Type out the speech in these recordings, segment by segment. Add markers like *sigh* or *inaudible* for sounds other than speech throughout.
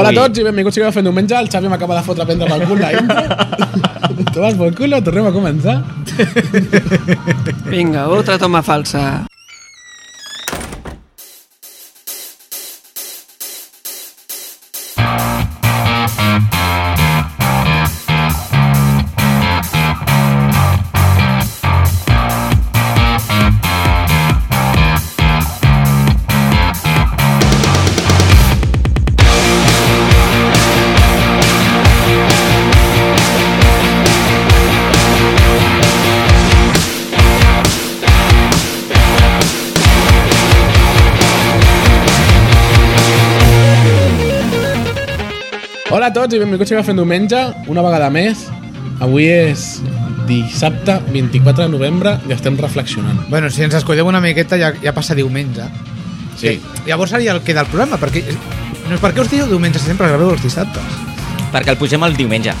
Hola a tots i benvinguts a Fent Diumenge. El Xavi m'acaba de fotre a prendre pel cul la *laughs* intro. tu vas pel cul, tornem a començar. Vinga, otra toma falsa. Hola a tots i benvinguts a Fent Diumenge, una vegada més. Avui és dissabte 24 de novembre i estem reflexionant. Bueno, si ens escolleu una miqueta ja, ja passa diumenge. Sí. I llavors seria el que del programa, perquè... No, per què us diu diumenge si sempre graveu els dissabtes? Perquè el posem el diumenge.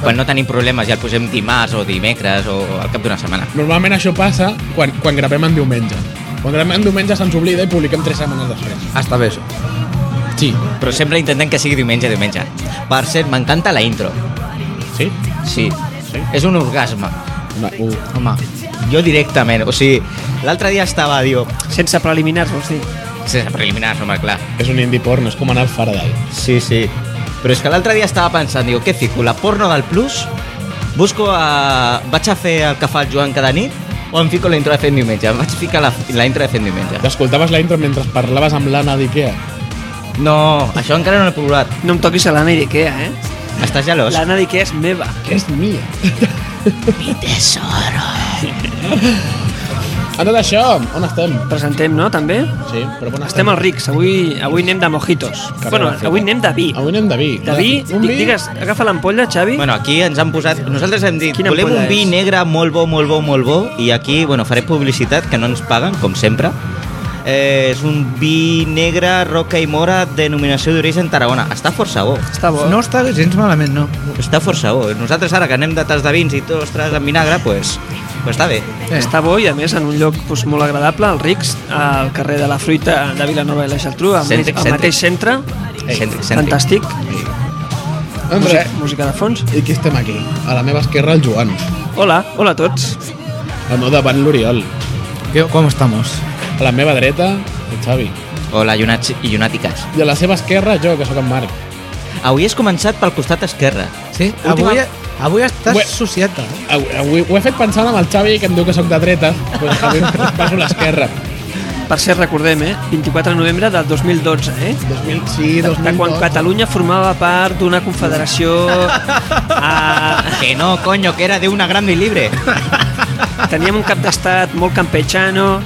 Quan no tenim problemes i el posem dimarts o dimecres o al cap d'una setmana. Normalment això passa quan, quan gravem en diumenge. Quan gravem en diumenge se'ns oblida i publiquem tres setmanes després. Està bé, això. Sí. Però sempre intentem que sigui diumenge, diumenge. Per cert, m'encanta la intro. Sí? Sí. sí. És un orgasme. Una, u. Home, jo directament. O sigui, l'altre dia estava, diu... Sense preliminars, vols dir? Sense preliminars, home, clar. És un indie porno, és com anar al Faraday. Sí, sí. Però és que l'altre dia estava pensant, diu, què fico, la porno del Plus? Busco a... Vaig a fer el que fa el Joan cada nit? O em fico la intro de fent diumenge? Em vaig ficar la, la intro de fent diumenge. T'escoltaves la intro mentre parlaves amb l'Anna d'Ikea. No, això encara no l'he provat. No em toquis a l'Anna d'Ikea, eh? Estàs gelós? L'Anna d'Ikea és meva. Que és mia. Mi tesoro. A tot això, on estem? Presentem, no, també? Sí, però on Estem als rics, avui, avui anem de mojitos. Carrera bueno, feta. avui anem de vi. Avui anem de vi. De vi, di- digues, agafa l'ampolla, Xavi. Bueno, aquí ens han posat... Nosaltres hem dit, Quina volem un ampolla vi és? negre molt bo, molt bo, molt bo, i aquí, bueno, faré publicitat, que no ens paguen, com sempre. Eh, és un vi negre, roca i mora, denominació d'origen Tarragona. Està força bo. Està bo. No està gens malament, no. Està força bo. Nosaltres ara que anem de tas de vins i tot, ostres, amb vinagre, pues, pues està bé. Eh. Està bo i a més en un lloc pues, molt agradable, als Rics, al carrer de la Fruita de Vilanova i la Geltrú, al, Cèntric, al mateix centre, Ei, cèntric, cèntric. fantàstic, André, música, música de fons. i qui estem aquí? A la meva esquerra el Joan, Hola, hola a tots. al meu davant l'Oriol, ¿Qué- ¿Cómo estamos? a la meva dreta el Xavi, Hola, llunats i llunàtiques. i a la seva esquerra jo, que sóc en Marc. Avui has començat pel costat esquerre. Sí, Última- avui, avui estàs Bé. bueno. societa. eh? Avui, avui, ho he fet pensant amb el Xavi, que em diu que sóc de dreta, doncs avui passo a l'esquerra. Per cert, recordem, eh? 24 de novembre del 2012, eh? 2000, sí, De, de quan 2002. Catalunya formava part d'una *laughs* confederació eh, a... Que no, coño, que era de una grande y libre. teníem un cap d'estat molt campechano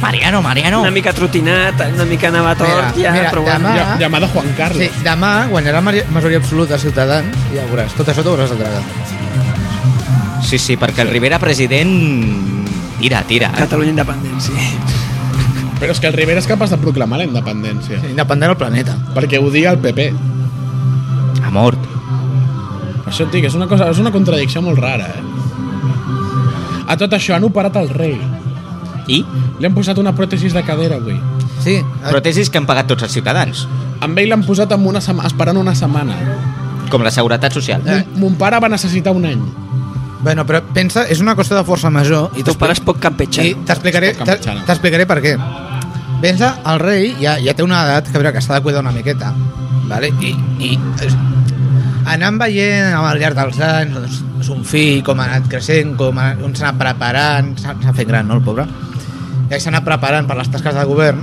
Mariano, Mariano. una mica trotinat una mica anava tort Mira, ja, mira, però bueno demà- Ja, llamado Ah. Juan Carlos. Sí, demà guanyarà mari- majoria absoluta Ciutadans i ja ho veuràs. Tot això t'ho hauràs de tragar. Sí, sí, perquè el Rivera president... Tira, tira. eh? Catalunya independent, sí Però és que el Rivera és capaç de proclamar la independència. Sí, Independent del planeta. Perquè ho digui el PP. Ha mort. Això et dic, és una, cosa, és una contradicció molt rara, eh? A tot això han operat el rei. I? Li han posat una pròtesis de cadera avui. Sí, Protesis que han pagat tots els ciutadans, Amb ell l'han posat amb una sema, esperant una setmana. com la Seguretat Social. Eh. Eh. Mon, mon pare va necessitar un any. bueno, però pensa, és una qüestió de força major i i teu pare és poc I campechano t'explicaré Escolta, Marxana. t'explicaré per què. Pensa, el rei ja, ja té una edat que, a veure, que s'ha de cuidar una miqueta. Vale? I, i és- anant veient al llarg dels anys doncs, son fill, com ha anat creixent, com, ha, com s'ha anat preparant, s'ha s'ha fet gran, no, el pobre? I s'ha anat preparant per les tasques del govern.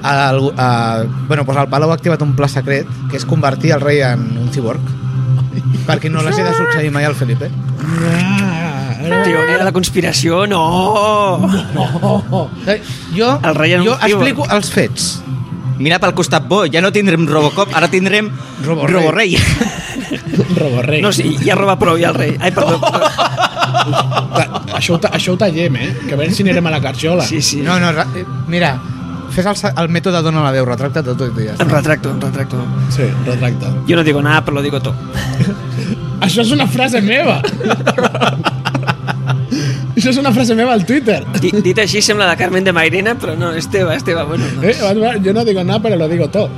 El, eh, bueno, doncs el Palau ha activat un pla secret, que és convertir el rei en un ciborg, perquè no l'hagi de succeir mai al Felipe. teoria de la conspiració, no Eh, Jo, El rei en un jo ciborg. explico els fets. Mira pel costat bo, ja no tindrem Robocop, ara tindrem Roborrei. Roborrei. Roborrei. no, sí, ja roba prou, ja el rei ai, perdó, Ta- això, ho ta- això ho tallem, eh? Que a veure si anirem a la carxola. sí, sí No, no, ra- eh, mira, fes el, sa- el mètode dona la veu, retracta tot i ja. està. em retracto, em retracto sí retracta. jo no digo nada, però lo digo todo Això és una frase meva. Això és una frase meva al Twitter. Di- Dit així sembla la Carmen de Mairena, però no, Esteva, Esteva, bueno. No. Eh, yo no digo nada, pero lo digo todo.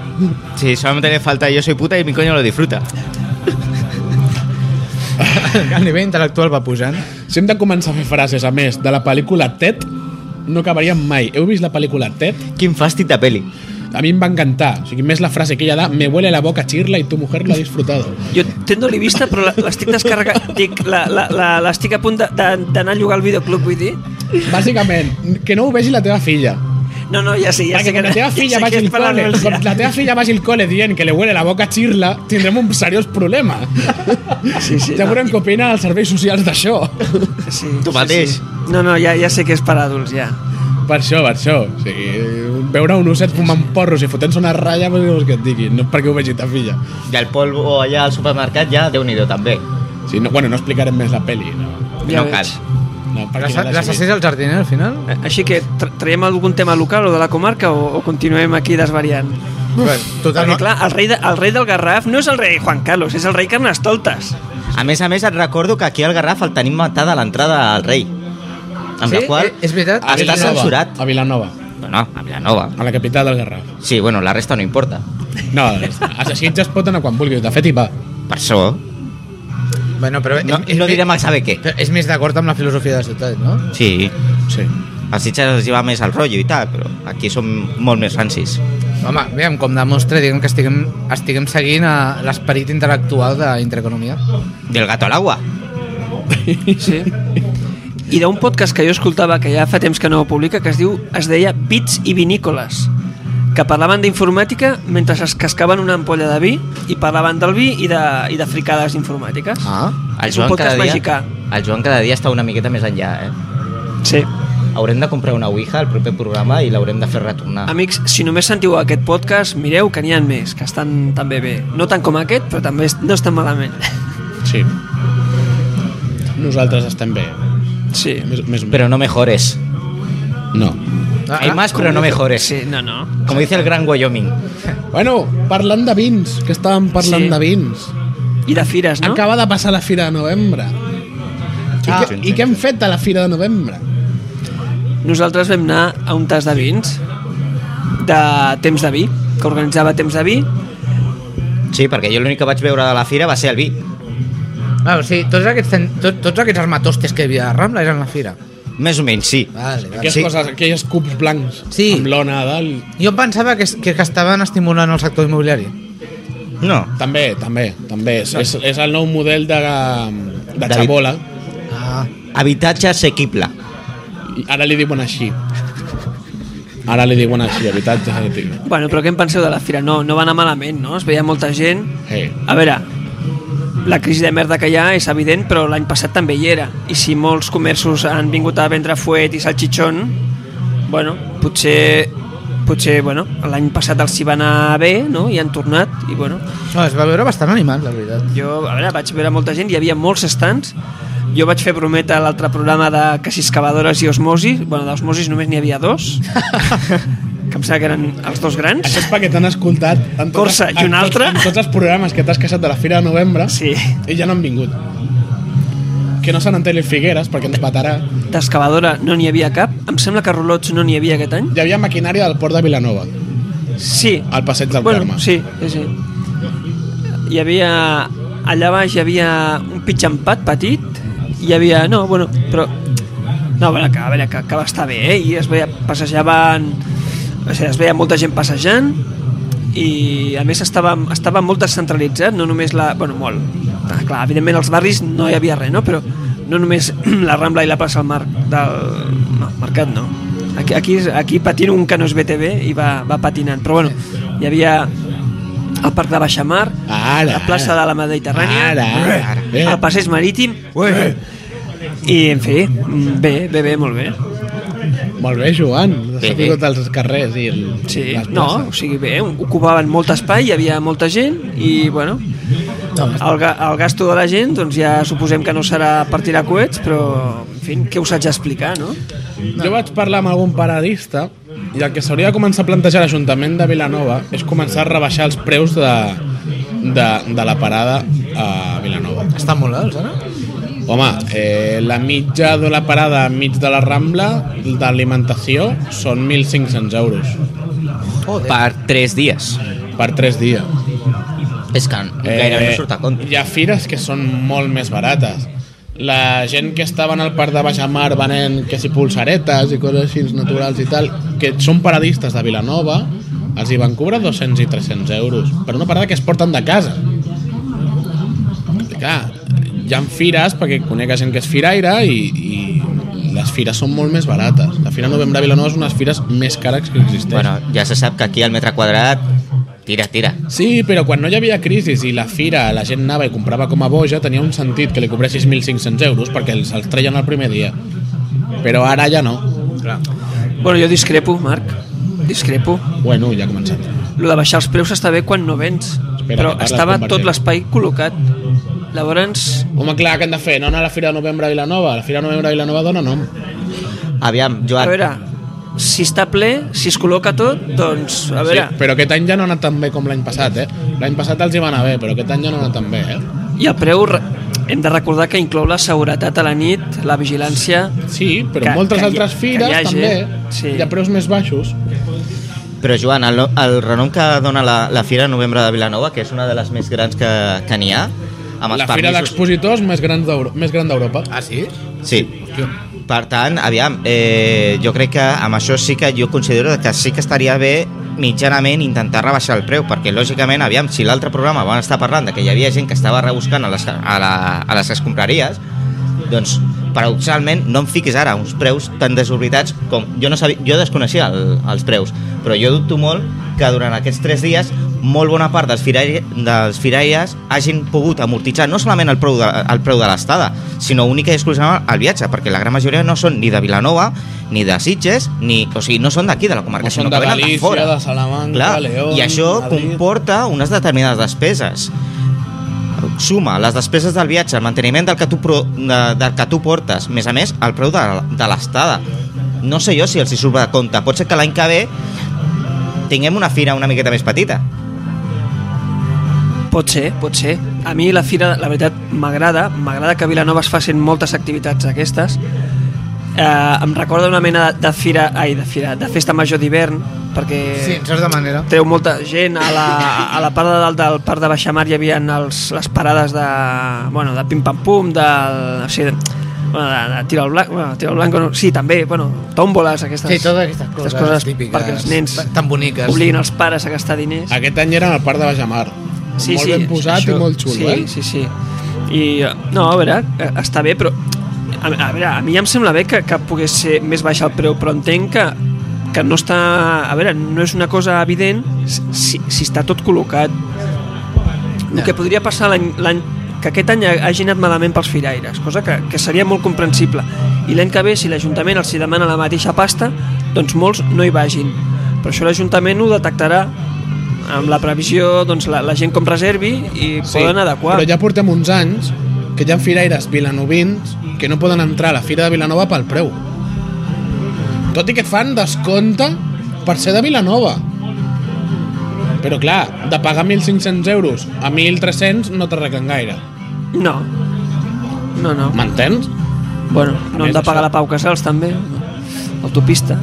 Sí, solamente le falta yo soy puta y mi coño lo disfruta. El nivell intel·lectual va pujant. Si hem de començar a fer frases, a més, de la pel·lícula Ted, no acabaríem mai. Heu vist la pel·lícula Ted? Quin fàstic de peli. A mi em va encantar. O sigui, més la frase que ella da, me huele la boca chirla y tu mujer lo ha disfrutado. *laughs* Jo tendo l'he vista, però la- l'estic descarregant. Dic, la- la- la- l'estic a punt de- de- d'anar a llogar al videoclub, vull dir. Bàsicament, que no ho vegi la teva filla. No, no, ja sé, ja Perquè sé que... quan *laughs* la teva ja filla sé vagi que és al per la cole, nostra. com la teva filla vagi al cole dient que le huele la boca chirla, tindrem un seriós problema. *laughs* Sí, sí, ja no, veurem què opinen els serveis socials *laughs* d'això. Sí, Tu mateix. No, no, ja, ja sé que és per adults, ja. Per això, per això. O sigui, veure un osset fumant porros i fotent-se una ratlla, pues, què vols que et digui? No és perquè ho vegi ta filla. I el polvo allà al supermercat ja, déu nhi també. Sí, no, bueno, no explicarem més la peli, no. no ja veig. cal. no perquè ja l'has L'assassí vist. al jardiner, al final? A- Així que tra traiem algun tema local o de la comarca o, o continuem aquí desvariant? Bé, total, Perquè, no, clar, el rei, de, el rei del Garraf no és el rei Juan Carlos, és el rei Carnestoltes. A més a més, et recordo que aquí al Garraf el tenim matat a l'entrada al rei. Amb Sí, la qual... eh, és veritat. A Està Vilanova, censurat. A Vilanova, Bueno, a Vilanova. a la capital del Garraf. Sí, bueno, la resta no importa. No, a Sitges pot anar quan vulguis. De fet, hi va. Per això... bueno, però No, és, no direm a saber què. però és més d'acord amb la filosofia de la ciutat, no? Sí, Sí. a Sitges els hi va més al rotllo i tal, però aquí som molt més rancis. Home, veiem, com demostra, diguem que estiguem, estiguem seguint a l'esperit intel·lectual d'intereconomia. Del gato al agua. Sí. I d'un podcast que jo escoltava que ja fa temps que no ho publica, que es diu es deia Bits i Vinícoles, que parlaven d'informàtica mentre es cascaven una ampolla de vi i parlaven del vi i de, i de fricades informàtiques. Ah. El És un Joan podcast cada dia, mexicà. el Joan cada dia està una miqueta més enllà, eh? Sí. Haurem de comprar una Ouija al proper programa i l'haurem de fer retornar. Amics, si només sentiu aquest podcast, mireu que n'hi ha més, que estan també bé. No tant com aquest, però també est- no estan malament. *laughs* Sí. Nosaltres estem bé. Sí. Més, més Pero no mejores. No. Hay más, pero no mejores. Sí, no, no. Como dice el gran Wyoming. Bueno, parlant de vins, que estàvem parlant Sí. sí. de vins. I de fires, no? Acaba de passar la Fira de Novembre. I, Ah. què, I què hem fet a la Fira de Novembre? Nosaltres vam anar a un tas de vins de Temps de Vi, que organitzava Temps de Vi. Sí, perquè jo l'únic que vaig veure de la fira va ser el vi. Ah, o sigui, tots aquests, ten- tot, tots aquests armatostes que hi havia a Rambla eren la fira. Més o menys, sí. Vale, vale. Aquelles Sí. sí. coses, aquelles cups blancs Sí. amb l'ona a dalt. Jo em pensava que, es- que, que estaven estimulant el sector immobiliari. No. També, també, també. És, és, és el nou model de, de David. xabola. Ah. Habitatge assequible. I Ara li diuen així. Ara li diuen així, habitatge. assequible. Bueno, però què en penseu de la fira? No, no va anar malament, no? Es veia molta gent. Hey. A veure, la crisi de merda que hi ha és evident, però l'any passat també hi era. I si molts comerços han vingut a vendre fuet i salchichón, bueno, potser potser, bueno, l'any passat els hi va anar bé, no?, i han tornat, i bueno, No, es va veure bastant animat, la veritat. Jo, a veure, vaig veure molta gent, hi havia molts estants. Jo vaig fer brometa a l'altre programa de que si excavadores i osmosis, bueno, d'osmosis només n'hi havia dos, que em sembla que eren els dos grans. Això és perquè t'han escoltat en tots, Corsa, els- i un en tots- altre? en tots els programes que t'has casat de la Fira de Novembre Sí, i ja no han vingut. Que no se n'entén Figueres perquè ens matarà. d'excavadora no n'hi havia cap. Em sembla que rolots no n'hi havia aquest any. Hi havia maquinària del Port de Vilanova, Sí, al passeig del bueno, Carme. sí, sí, sí. Hi havia... Allà baix hi havia un pitxampat petit, hi havia... No, bueno, però... No, a veure, que, a veure, que, que va estar bé, eh? I es veia, passejaven... O sigui, es veia molta gent passejant i a més estava, estava molt descentralitzat, no només la... Bueno, molt. Ah, clar, evidentment als barris no hi havia res, no? Però no només *clears throat* la Rambla i la plaça al Mar del... No, mercat no. Aquí, aquí, és- aquí patint un que no és BTV i va, va patinant. Però bueno, hi havia el Parc de Baixamar, Ara, la plaça ara. de la Mediterrània, Ara, ara, ara. Bé. el passeig marítim, i en fi, mm, bé, bé, bé, molt bé. Molt bé, Joan. Has Bé, sabut els carrers i el, Sí, les no, places. o sigui, bé, ocupaven molt espai, hi havia molta gent i, bueno, el, ga el gasto de la gent, doncs ja suposem que no serà per tirar coets, però, en fi, què us haig d'explicar, no? Jo vaig parlar amb algun paradista i el que s'hauria de començar a plantejar a l'Ajuntament de Vilanova és començar a rebaixar els preus de, de, de la parada a Vilanova. Estan molt alts, ara? Home, eh, la mitja de la parada enmig de la Rambla d'alimentació són 1.500 euros per 3 dies. per 3 dies. És que gairebé no surt a compte. Eh, Hi ha fires que són molt més barates. La gent que estava al parc de Bajamar venent que si pulsaretes i coses així naturals i tal, que són paradistes de Vilanova, els hi van cobrar 200 i 300 euros per una parada que es porten de casa. I clar, hi ha fires perquè conec gent que és firaire i, i les fires són molt més barates. La Fira Novembre de Vilanova és una de les fires més cares que existeix. Bueno, ja se sap que aquí al metre quadrat tira, tira. Sí, però quan no hi havia crisi i la fira la gent anava i comprava com a boja, tenia un sentit que li cobressis 1.500 euros perquè els, els treien el primer dia. Però ara ja no. Clar. Bueno, jo discrepo, Marc. Discrepo. Bueno, ja ha començat. Lo de baixar els preus està bé quan no vens. Espera, però que parles, estava Convergent. tot l'espai col·locat. Llavors, Home, clar, què hem de fer? No anar a la Fira de Novembre a Vilanova? La Fira de Novembre a Vilanova dona nom. Aviam, a Joan, veure, si està ple, si es col·loca tot, doncs, a veure... Sí, però aquest any ja no ha anat tan bé com l'any passat, eh? L'any passat els hi va anar bé, però aquest any ja no ha anat tan bé, eh? I el preu re- hem de recordar que inclou la seguretat a la nit, la vigilància... Sí, però Que- que, moltes que hi- altres que fires hi hagi, també. sí. Hi ha preus més baixos. però Joan, el, el renom que dona la, la Fira de Novembre de Vilanova, que és una de les més grans que, que n'hi ha, amb els La Fira permisos... d'Expositors més gran d'Euro- més gran d'Europa. Ah, sí? Sí. Per tant, aviam, eh, jo crec que amb això sí que jo considero que sí que estaria bé mitjanament intentar rebaixar el preu, perquè lògicament, aviam, si l'altre programa van estar parlant de que hi havia gent que estava rebuscant a les, a la, a les escombraries, doncs paradoxalment no em fiquis ara uns preus tan desorbitats com jo no sabia, jo desconeixia el, els preus però jo dubto molt que durant aquests 3 dies molt bona part dels, firaire, dels firaires hagin pogut amortitzar no solament el preu de, el preu de l'estada sinó única i exclusivament el viatge perquè la gran majoria no són ni de Vilanova ni de Sitges, ni, o sigui, no són d'aquí de la comarca, No són sinó de que venen Galícia, fora. de Salamanca, Clar, León, I això Madrid. comporta unes determinades despeses suma les despeses del viatge, el manteniment del que tu, pro, de, del que tu portes, més a més, el preu de, de l'estada. No sé jo si els hi surt de compte. Pot ser que l'any que ve tinguem una fira una miqueta més petita. Pot ser, pot ser. A mi la fira, la veritat, m'agrada. M'agrada que a Vilanova es facin moltes activitats aquestes. Eh, em recorda una mena de fira, ai, de fira, de festa major d'hivern, perquè Sí, en certa manera. treu molta gent. A la, a la part de dalt del parc de Baixamar hi havia els, les parades de, bueno, de pim-pam-pum, del... O sigui, de, bueno, de, de tiro al blanc, bueno, tiro al blanc, no, sí, també, bueno, tòmboles, aquestes, Sí, totes aquestes coses, coses típiques, perquè els nens tan boniques. obliguin els pares a gastar diners. Aquest any era en el parc de Bajamar. Sí, molt ben posat això- i molt xulo, sí, eh? Sí, sí, I, eh, no, a veure, eh, està bé, però... A, a veure, a mi ja em sembla bé que, que pogués ser més baix el preu, però entenc que, que no està... A veure, no és una cosa evident si, si està tot col·locat. El que podria passar l'any l'any- que aquest any ha- hagi anat malament pels firaires, cosa que, que seria molt comprensible. I l'any que ve, si l'Ajuntament els hi demana la mateixa pasta, doncs molts no hi vagin. Però això l'Ajuntament ho detectarà amb la previsió, doncs la, la gent com reservi i sí, poden adequar. Però ja portem uns anys que hi ha firaires vilanovins que no poden entrar a la Fira de Vilanova pel preu. Tot i que fan descompte per ser de Vilanova. Però clar, de pagar 1.500 euros a 1.300 no t'arreglen gaire. No, no, no. M'entens? Bueno, no hem més, de pagar això- la Pau Casals també, autopista.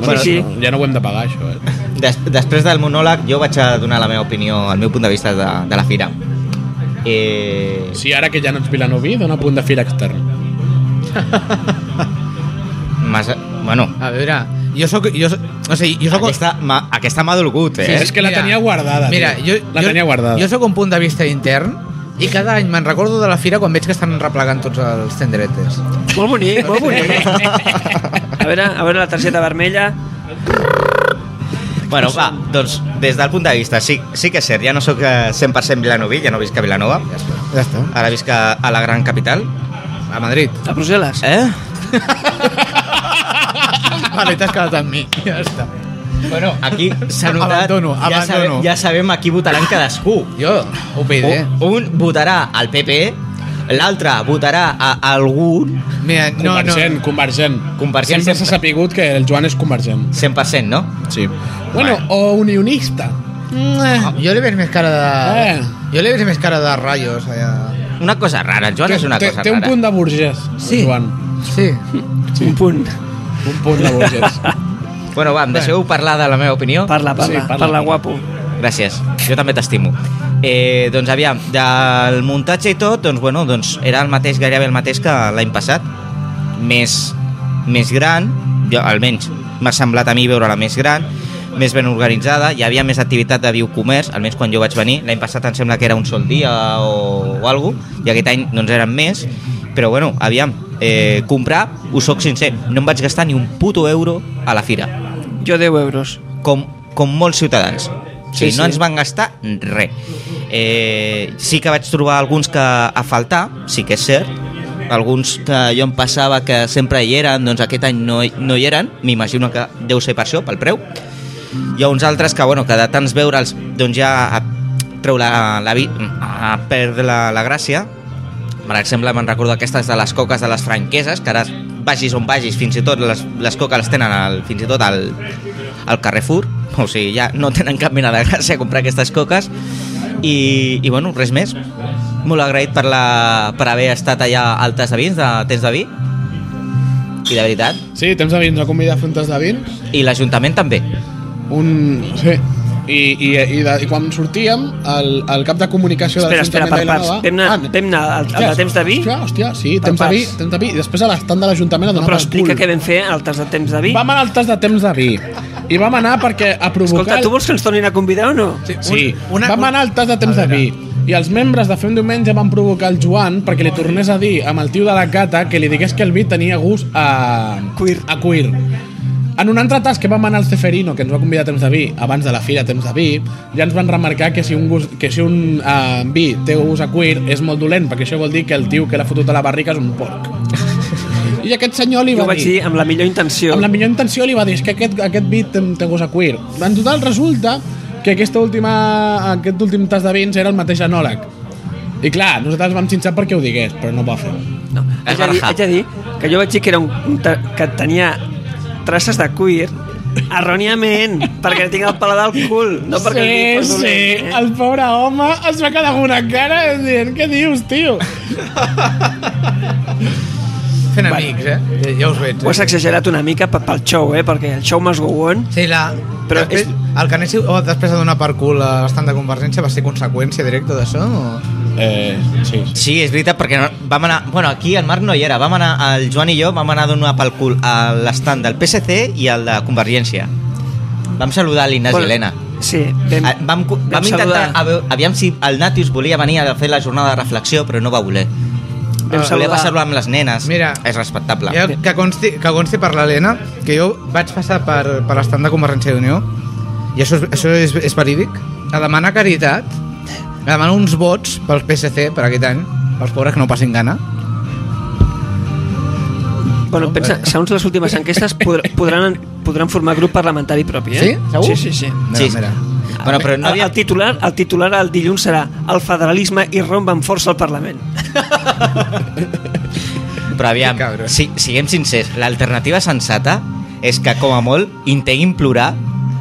Bueno, sí. no, ja no ho hem de pagar, això. Eh? Des, després del monòleg jo vaig a donar la meva opinió, el meu punt de vista de, de la fira. Eh, Sí, ara que ja no ets vilanoví, dona punt de fira extern. massa, bueno, A veure, jo sóc... Jo, soc- o sigui, jo soc... aquesta m'ha aquesta m'ha dolgut, eh? Sí, és que la tenia guardada, tio. Mira, jo, La jo, tenia guardada. Jo sóc un punt de vista intern i cada any me'n recordo de la fira quan veig que estan replegant tots els tenderetes. Molt bonic, molt bonic. A veure, a veure la targeta vermella. Bueno, va, doncs des del punt de vista, sí, sí que és cert, ja no sóc eh, 100% vilanoví, ja no visc a Vilanova, Ja està. Ja està. ara visc a, a la gran capital. A Madrid. A Brussel·les. Eh? Vale, t'has quedat amb mi. Ja està. Bueno, Aquí s'ha notat... Abandono, Ja, sabem, abandono. ja sabem a qui votaran cadascú. jo, UPyD. Oh, Un, un votarà al PP, l'altre votarà a algun... Mira, no, no. Convergent, convergent. Convergent sempre s'ha sempre. sapigut que el Joan és convergent. 100%, no? Sí. Bueno, o unionista. Eh. Ah, Jo li veig més cara de... Eh. Jo li veig més cara de rayos allà. una cosa rara, el Joan Té, és una té, cosa té un rara. punt de burgès, Sí. Joan. Sí. Sí. Un punt. Un punt de burgès. *laughs* Bueno, va, em deixeu parlar de la meva opinió? Parla, parla, Sí, parla, parla. guapo. Gràcies, jo també t'estimo. Eh, doncs aviam, del muntatge i tot, doncs, bueno, doncs era el mateix, gairebé el mateix que l'any passat. Més, més gran, jo, almenys m'ha semblat a mi veure-la més gran, més ben organitzada, hi havia més activitat de biocomerç, almenys quan jo vaig venir. L'any passat em sembla que era un sol dia o, o algo, i aquest any doncs eren més. Però bueno, aviam, eh, comprar, us soc sincer, no em vaig gastar ni un puto euro a la fira Jo 10 euros. com, com molts ciutadans. O sigui, Sí, sí, sí. no ens van gastar res. Eh, sí que vaig trobar alguns que a faltar, sí que és cert, alguns que jo em passava que sempre hi eren, doncs aquest any no, hi- no hi eren, m'imagino que deu ser per això, pel preu. Hi ha uns altres que, bueno, que de tants veure'ls, doncs ja a- treu la, la, vi- a perdre la, la gràcia. Per exemple, me'n recordo aquestes de les coques de les franqueses, que ara vagis on vagis, fins i tot les, les coques les tenen al, fins i tot al, al Carrefour, o sigui, ja no tenen cap mena de gràcia comprar aquestes coques i, i bueno, res més molt agraït per, la, per haver estat allà al tas de vins, de temps de vi i de veritat Sí, temps de vins, va convidar a fer un tas de vins. i l'Ajuntament també Un... Sí. I, i, i, de, i quan sortíem, el, el cap de comunicació Espera, de espera, l'Ajuntament per parts. d'Aila Vam anar, Ah, vam anar al, al de hòstia, temps de vi, Hòstia, hòstia sí, Per temps de vi, parts. temps de vi. I després a l'estant de l'Ajuntament a donar però pel explica cul. què vam fer al tas de temps de vi. Vam anar al tas de temps de vi. I vam anar perquè a provocar... Escolta, tu vols que ens tornin a convidar o no? sí. un- Sí, una, vam anar al tas de temps A de veure. vi. I els membres de Fem Diumenge van provocar el Joan perquè li tornés a dir amb el tio de la cata que li digués que el vi tenia gust a... Cuir. A cuir. En un altre tas que vam anar al Ceferino, que ens va convidar a temps de vi, abans de la fira a temps de vi, ja ens van remarcar que si un, gust, que si un uh, vi té gust a cuir és molt dolent, perquè això vol dir que el tio que l'ha fotut a la barrica és un porc. I aquest senyor li Jo va ho vaig dir amb la millor intenció. amb la millor intenció li va dir és que aquest, aquest beat té, té gos a cuir en total resulta que aquesta última, aquest últim tas de vins era el mateix anòleg i clar, nosaltres vam xinxar perquè ho digués però no va fer No, Es haig de, dir, barajava. haig de dir que jo vaig dir que, era un, un ta- que tenia traces de cuir erròniament, perquè tinc el paladar al cul, no perquè sí, el dit fos sí, dolent, eh? el pobre home es va quedar amb una cara dient què dius, tio Fent amics, eh? Ja- Ja us veig. Ho has Eh? exagerat una mica pe- pel show, eh? perquè el show must go on. Sí, la... Però Però després, és- el que anéssiu oh, després de donar per cul a l'estat de Convergència va ser conseqüència directa d'això? O... eh, sí, sí. sí, és veritat, perquè no- vam anar bueno, aquí el Marc no hi era, vam anar, el Joan i jo vam anar a donar pel cul a l'estand del PSC i al de Convergència vam saludar l'Ignasi bueno, Helena Sí, vam, Ah, vam, cu- vam intentar a veure, aviam si el Natius volia venir a fer la jornada de reflexió però no va voler Eh, Vam volia saludar. passar-lo amb les nenes Mira. és respectable Jo, que, consti, que consti per l'Helena que jo vaig passar per, per l'estat de Convergència i Unió i això, és, això és, és verídic a demanar caritat a demanar uns vots pel PSC per aquest any pels pobres que no passin gana Bueno, pensa, segons les últimes enquestes podr, podran, podran formar grup parlamentari propi, eh? Sí? Segur? Sí, sí, sí. mira, Sí, sí. mira. Bueno, però no El, havia... el, titular, el titular el dilluns serà el federalisme i romp amb força al Parlament. Però aviam, Que cabrón. si, siguem sincers, l'alternativa sensata és que, com a molt, intentin plorar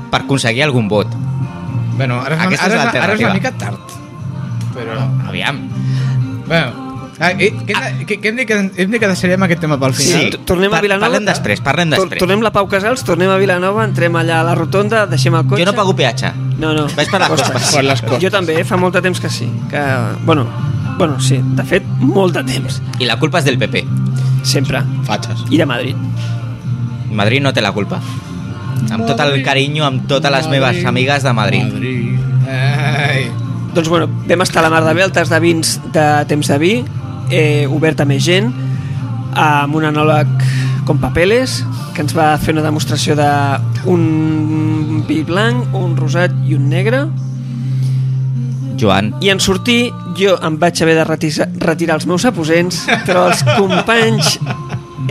per aconseguir algun vot. bueno, ara, és una, Aquesta és ara, és una, ara és l'alternativa. una mica tard però... Aviam. Bueno, ah, eh, què, què, què hem, de, que- hem de que deixarem aquest tema pel final? Sí. tornem a Par- Vilanova. Parlem després, parlem Tor- després. Tornem la Pau Casals, tornem a Vilanova, entrem allà a la rotonda, deixem el cotxe... Jo no pago peatge. No, no. Vaig per les Costes. costes. Per les costes. Jo també, eh? fa molt de temps que sí. Que, bueno, bueno, sí, de fet, molt de temps. I la culpa és del PP. Sempre. fatxes I de Madrid. Madrid no té la culpa. Amb tot el Madrid. carinyo, amb totes les meves amigues de Madrid. Madrid. Ai. Doncs bueno, vam estar a la Mar de Bé, al tas de vins de temps de vi, eh, obert a més gent, amb un anòleg com papeles, que ens va fer una demostració de un vi blanc, un rosat i un negre. Joan, I en sortir, jo em vaig haver de retisa- retirar els meus aposents, però els companys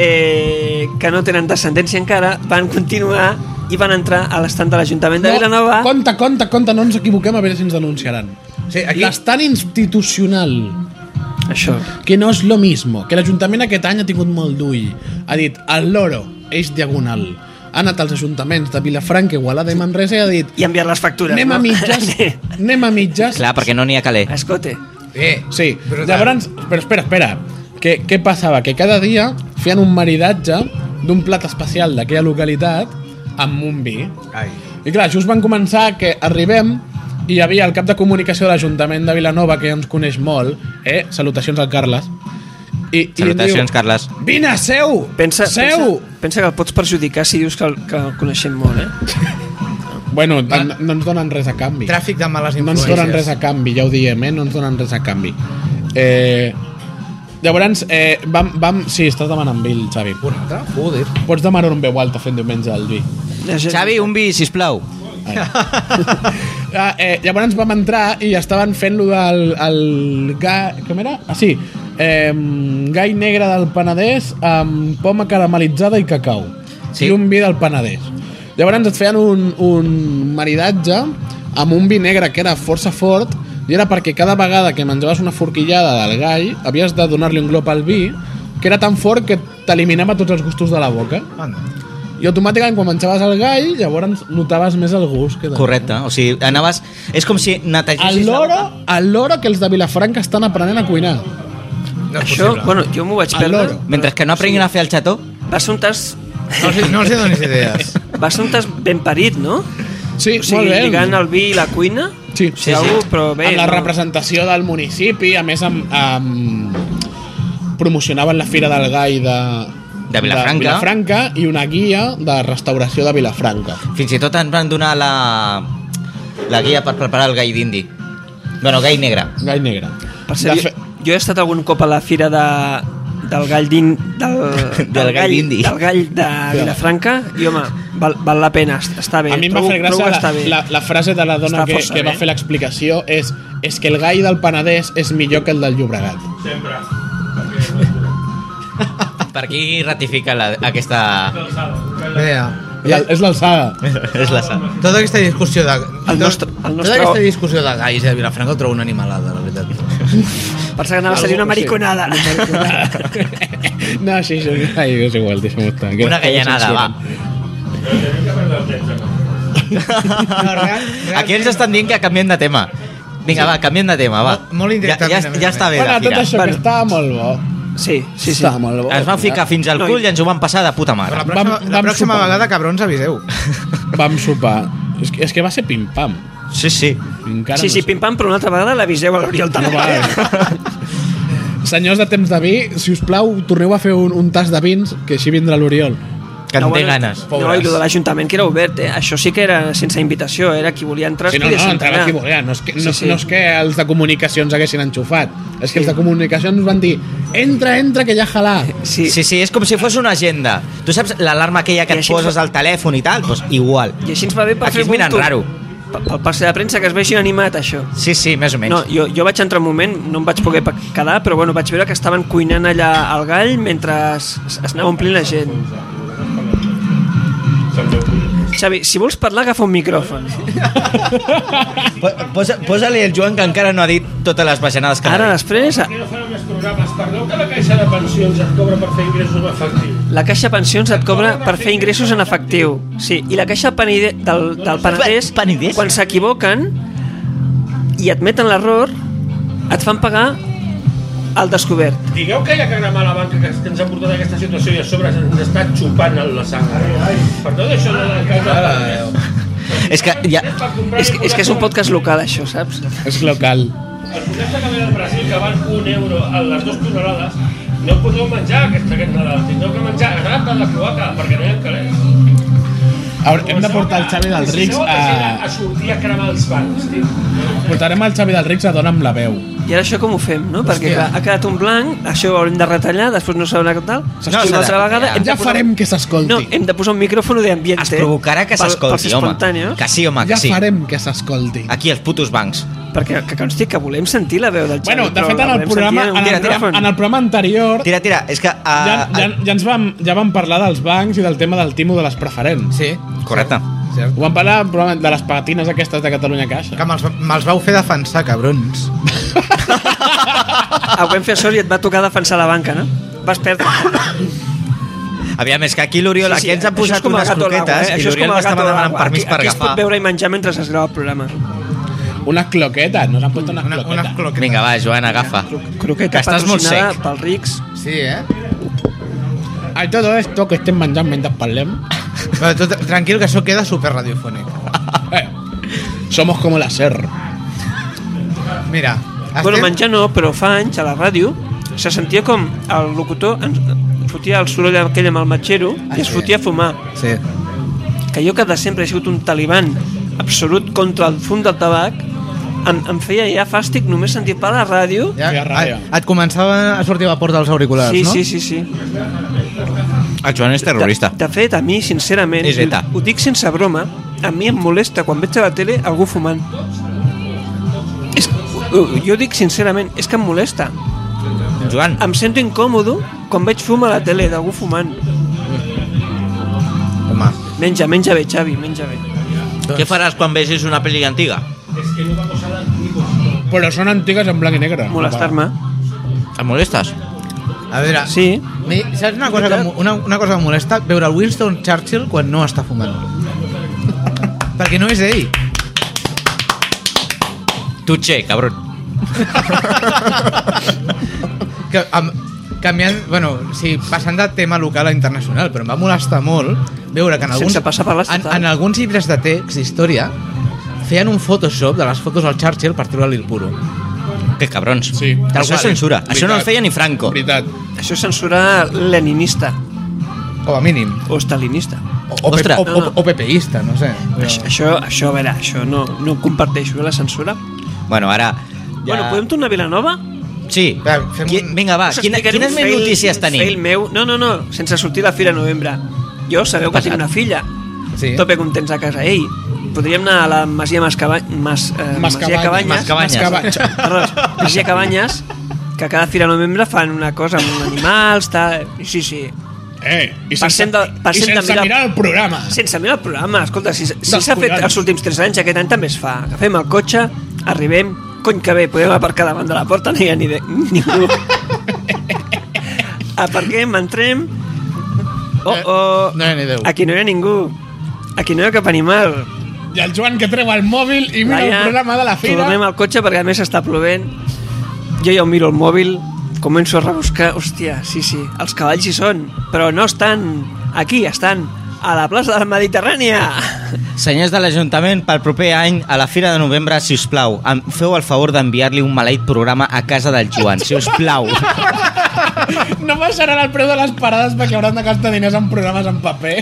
eh, que no tenen descendència encara van continuar i van entrar a l'estand de l'Ajuntament de Vilanova. compte, compte, compte, no ens equivoquem a veure si ens denunciaran Sí, aquí- l'estat institucional Això. que no és lo mismo, que l'Ajuntament aquest any ha tingut molt d'ull. Ha dit, el loro, eix diagonal. Ha anat als ajuntaments de Vilafranca, Igualada i Manresa i ha dit, I enviar les factures. anem *laughs* no? a mitges, anem a mitges. clar, perquè no n'hi ha caler. Escote. Bé, Sí, brutal. llavors... Però espera, espera. Què, què passava? Que cada dia feien un maridatge d'un plat especial d'aquella localitat amb un vi. Ai. I clar, just van començar que arribem i hi havia el cap de comunicació de l'Ajuntament de Vilanova, que ja ens coneix molt, eh? Salutacions al Carles. I, i Salutacions, diu, Carles. Vine, seu! Pensa, seu! pensa, pensa que el pots perjudicar si dius que el, que el coneixem molt, eh? Bueno, no, no ens donen res a canvi. Tràfic de males No ens influències. donen res a canvi, ja ho diem, eh? No ens donen res a canvi. Eh, llavors, eh, vam, vam... Sí, estàs demanant Bill, Xavi. Un altre? Joder. Pots demanar un veu alta fent diumenge al vi. La gent- Xavi, un vi, sisplau. Eh. Ah, eh, llavors vam entrar i estaven fent-lo del... El, ga, com era? Ah, sí. Eh, gai negre del Penedès amb poma caramelitzada i cacau. Sí. I un vi del Penedès. Llavors et feien un, un maridatge amb un vi negre que era força fort i era perquè cada vegada que menjaves una forquillada del gall havies de donar-li un glop al vi que era tan fort que t'eliminava tots els gustos de la boca. Anda. I automàticament quan menjaves el gall llavors notaves més el gust. Que de- Correcte, o sigui, anaves... És com si netegessis... el la loro, boca. el loro que els de Vilafranca estan aprenent a cuinar. No és Això, possible. bueno, jo m'ho vaig Al perdre. loro. Mentre que no aprenguin a fer el xató, Va ser un tas... No, els- no els hi donis idees. Va ser un tas ben parit, no? Sí, O sigui, molt bé. lligant el vi i la cuina. Sí, Sí, sí. Algú, però bé, amb la no. representació del municipi, a més amb, amb promocionaven la Fira del Gai de, De Vilafranca. de Vilafranca i una guia de restauració de Vilafranca. fins i tot ens van donar la, la guia per preparar el gai d'indi. Bueno, gai negre. *laughs* Gai negre. Per ser, De fe- jo, jo he estat algun cop a la fira de, del gall d'in... Del, Del gall d'indi. Del gall de Vilafranca i, home, val, val la pena, est- està bé. a mi em va trobo- fer trobo gràcia que la, està bé. la, la frase de la dona Està que, força que va bé. fer l'explicació és és que el gai del Penedès és millor que el del Llobregat. Per aquí ratifica la, aquesta... *laughs* Mira, La, és l'alçada. és la sal. tota aquesta discussió de... El nostre- el Tota nostre- aquesta discussió de gais de Vilafranca ho trobo una animalada, la veritat. Pensa que anava a ser Algú, una sí. mariconada. no, sí, sí. Ai, és igual, deixa'm estar. que Una després ho gallanada, va. censuren. No, real- Aquí ens estan dient que canviem de tema. Vinga, va, canviem de tema, va. Molt- molt indirectament, Ja, a ja, més ja a està bé, Bueno, la tot fira. això Bueno. que estava molt bo. *laughs* Sí, sí, sí. Estava molt bo. Ens van ficar fins al No, i- cul i ens ho van passar de puta Però mare. la pròxima, Vam- la vam pròxima sopar. vegada, cabrons, *laughs* aviseu. Vam sopar. És que, és que va ser pim-pam. Sí, sí. Encara Sí, no sí, sé. pim-pam, però una altra vegada l'aviseu a l'Oriol No també. va. eh. Senyors de temps de vi, si us plau, torneu a fer un, un tas de vins, que així vindrà l'Oriol. Que en té ganes. No, i lo de l'Ajuntament que era obert, eh? Això sí que era sense invitació, era qui volia entrar. Si no, podia no, entrar. entrava qui volia. No és, que, no, Sí, sí. no és que els de comunicacions haguessin enxufat. És que els de comunicacions van dir entra, entra, que ja jalà. Sí, Sí, sí, és com si fos una agenda. Tu saps l'alarma aquella que I et així poses al telèfon i tal? Doncs igual. i així ens va bé per Aquí fer es miren bulto. raro. Pe- Pel passe de premsa, que es vegin animat, això. Sí, sí, més o menys. No, jo, jo vaig entrar un moment, no em vaig poder pa- quedar, però bueno, vaig veure que estaven cuinant allà el gall mentre es, es anava omplint la gent. Xavi, si vols parlar, agafa un micròfon. Po- Posa, Posa-li el Joan que encara no ha dit totes les bajanades que ha Ara, dit. després, no fan més programes? Perdó que la Caixa de Pensions et cobra per fer ingressos en efectiu. la Caixa Pensions et cobra per fer ingressos en efectiu. Sí, i la Caixa Penide del, del Penedès, Pa- Penedès? quan s'equivoquen i admeten l'error, et fan pagar al descobert. Digueu que hi ha que anar a la banca que, que ens ha portat a aquesta situació i a sobre ens està xupant el- la sang. Perdó, això no la causa. És que ja... És que, és que és un podcast local, això, saps? És local. El producte que ve del Brasil, que val un euro a les dues tonelades, no podeu menjar aquests aquests nadals. Tindreu que menjar anant a la cloaca, perquè no hi ha calés. A veure, hem de portar el Xavi dels Rics A... a a... sortir a cremar els bancs, tio. Portarem el Xavi dels Rics a Dona amb la veu. I ara això com ho fem, no? Perquè Hòstia. clar, ha quedat un blanc, això ho haurem de retallar, després no sabrà què tal. No, I una altra s'ha de- vegada ja. hem de Ja posar- farem que s'escolti. Ah. No, hem de posar un micròfon d'ambient. Es provocarà que s'escolti, home. Que... Que sí, home, que Ja sí. Ah, farem que s'escolti. Aquí, els putos bancs. Perquè que consti que volem sentir la veu del Xavi. Bueno, de però fet, la en el volem programa, en sentir el, Tira, tira. programa, en el programa anterior Tira, tira, és que... Uh, ja, ja, ja, ens vam, ja vam parlar dels bancs i del tema del timo de les preferents. Sí, Correcte. cert. Ho vam parlar en el programa de les patines aquestes de Catalunya Caixa. Que me'ls me'ls vau fer defensar, cabrons. Ah, ho vam fer a sort i et va tocar defensar la banca, no? Vas perdre. Aviam, és que aquí l'Oriol, aquí ens ha això és posat com el unes gato al agua, croquetes eh? i Això és com l'Oriol el gato m'estava al demanant agua. permís Aquí- per Aquí es pot agafar. veure i menjar mentre es grava el programa. Unas cloquetas, nos han puesto unas Una, cloquetas. unas croquetas. Vinga, va, Joan, agafa. Croqueta Estàs molt patrocinada sec. pels rics. Sí, eh? A todo esto que estem menjant mentre parlem, Però tu, tranquil, que això queda super radiofònic. eh, somos como la SER. Mira, Bueno, menjar no, però fa anys a la ràdio se sentia com el locutor ens fotia el soroll aquell amb el matxero Ah, i es sí. fotia a fumar. Sí. Que jo que de sempre he sigut un taliban absolut contra el fum del tabac, em, em feia ja fàstic només sentir per la ràdio. Ja, Feia et, ràbia. et començava a sortir vapor dels auriculars, Sí, no? sí, sí, sí. El Ah, Joan és terrorista. De, de fet, a mi, sincerament, És ETA. ho, ho dic sense broma, a mi em molesta quan veig a la tele algú fumant. És, ho- ho- jo dic sincerament, és que em molesta. Joan, Em sento incòmodo quan veig fum a la tele d'algú fumant. Home, Menja, menja bé, Xavi, menja bé. doncs. què faràs quan vegis una pel·li antiga? Però són antigues en blanc i negre. Molestar-me. Et molestes? a veure... Sí, Mi, saps una cosa, que, em- una, una cosa que em molesta? Veure el Winston Churchill quan no està *laughs* fumant. Perquè no és ell. Tu che, cabron. Que, amb, canviant, bueno, sí, passant de tema local a internacional, però em va molestar molt veure que en alguns, Sense passar per l'estatal. en, en alguns llibres de text d'història feien un Photoshop de les fotos del Churchill per treure-li el puro. Que cabrons. Sí. Tal Això qual. és censura. Això no el Veritat. feia ni Franco. Veritat. això és censura leninista Com a mínim. o stalinista. O, o, Ostres. o, o, o pepeista, no sé. Això, això, això, a veure, això no, no ho comparteixo, eh, la censura. Bueno, ara... Ja. Bueno, podem tornar a Vilanova? Sí. Va, fem Qui- un- Vinga, va, Us Ah, quina, explicaré quines un més fail- notícies un Fail tenim? meu. No, no, no, sense sortir la fira a novembre. Jo sabeu que Passat. tinc una filla. Sí. Tope contents a casa. Ei, podríem anar a la Masia Mascaba... Mas, eh, Masia Cabanyes. Mascabanyes. Mascabanyes. Perdó, Masia Cabanyes, que cada fira a novembre fan una cosa amb animals, tal... Sí, sí. Eh, i sense, Passem de- passem i sense de mirar- mirar el programa. Sense mirar el programa, escolta, si, si Dels s'ha fet collons. els últims 3 anys, aquest any també es fa. Agafem el cotxe, arribem, cony que bé, podem aparcar davant de la porta, no hi ha ni de, *laughs* ningú. Aparquem, entrem... Oh, Eh, oh, No hi ha ni Déu. aquí no hi ha ningú. Aquí no hi ha cap animal. I el Joan que treu el mòbil i mira Laia, el programa de la fira. Tornem al cotxe perquè a més està plovent. Jo ja ho miro el mòbil, començo a rebuscar. Hòstia, sí, sí, els cavalls hi són, però no estan aquí, estan a la plaça de la Mediterrània. Senyors de l'Ajuntament, pel proper any, a la Fira de Novembre, si us plau, em feu el favor d'enviar-li un maleït programa a casa del Joan, si us plau. No baixaran el preu de les parades perquè hauran de gastar diners en programes en paper.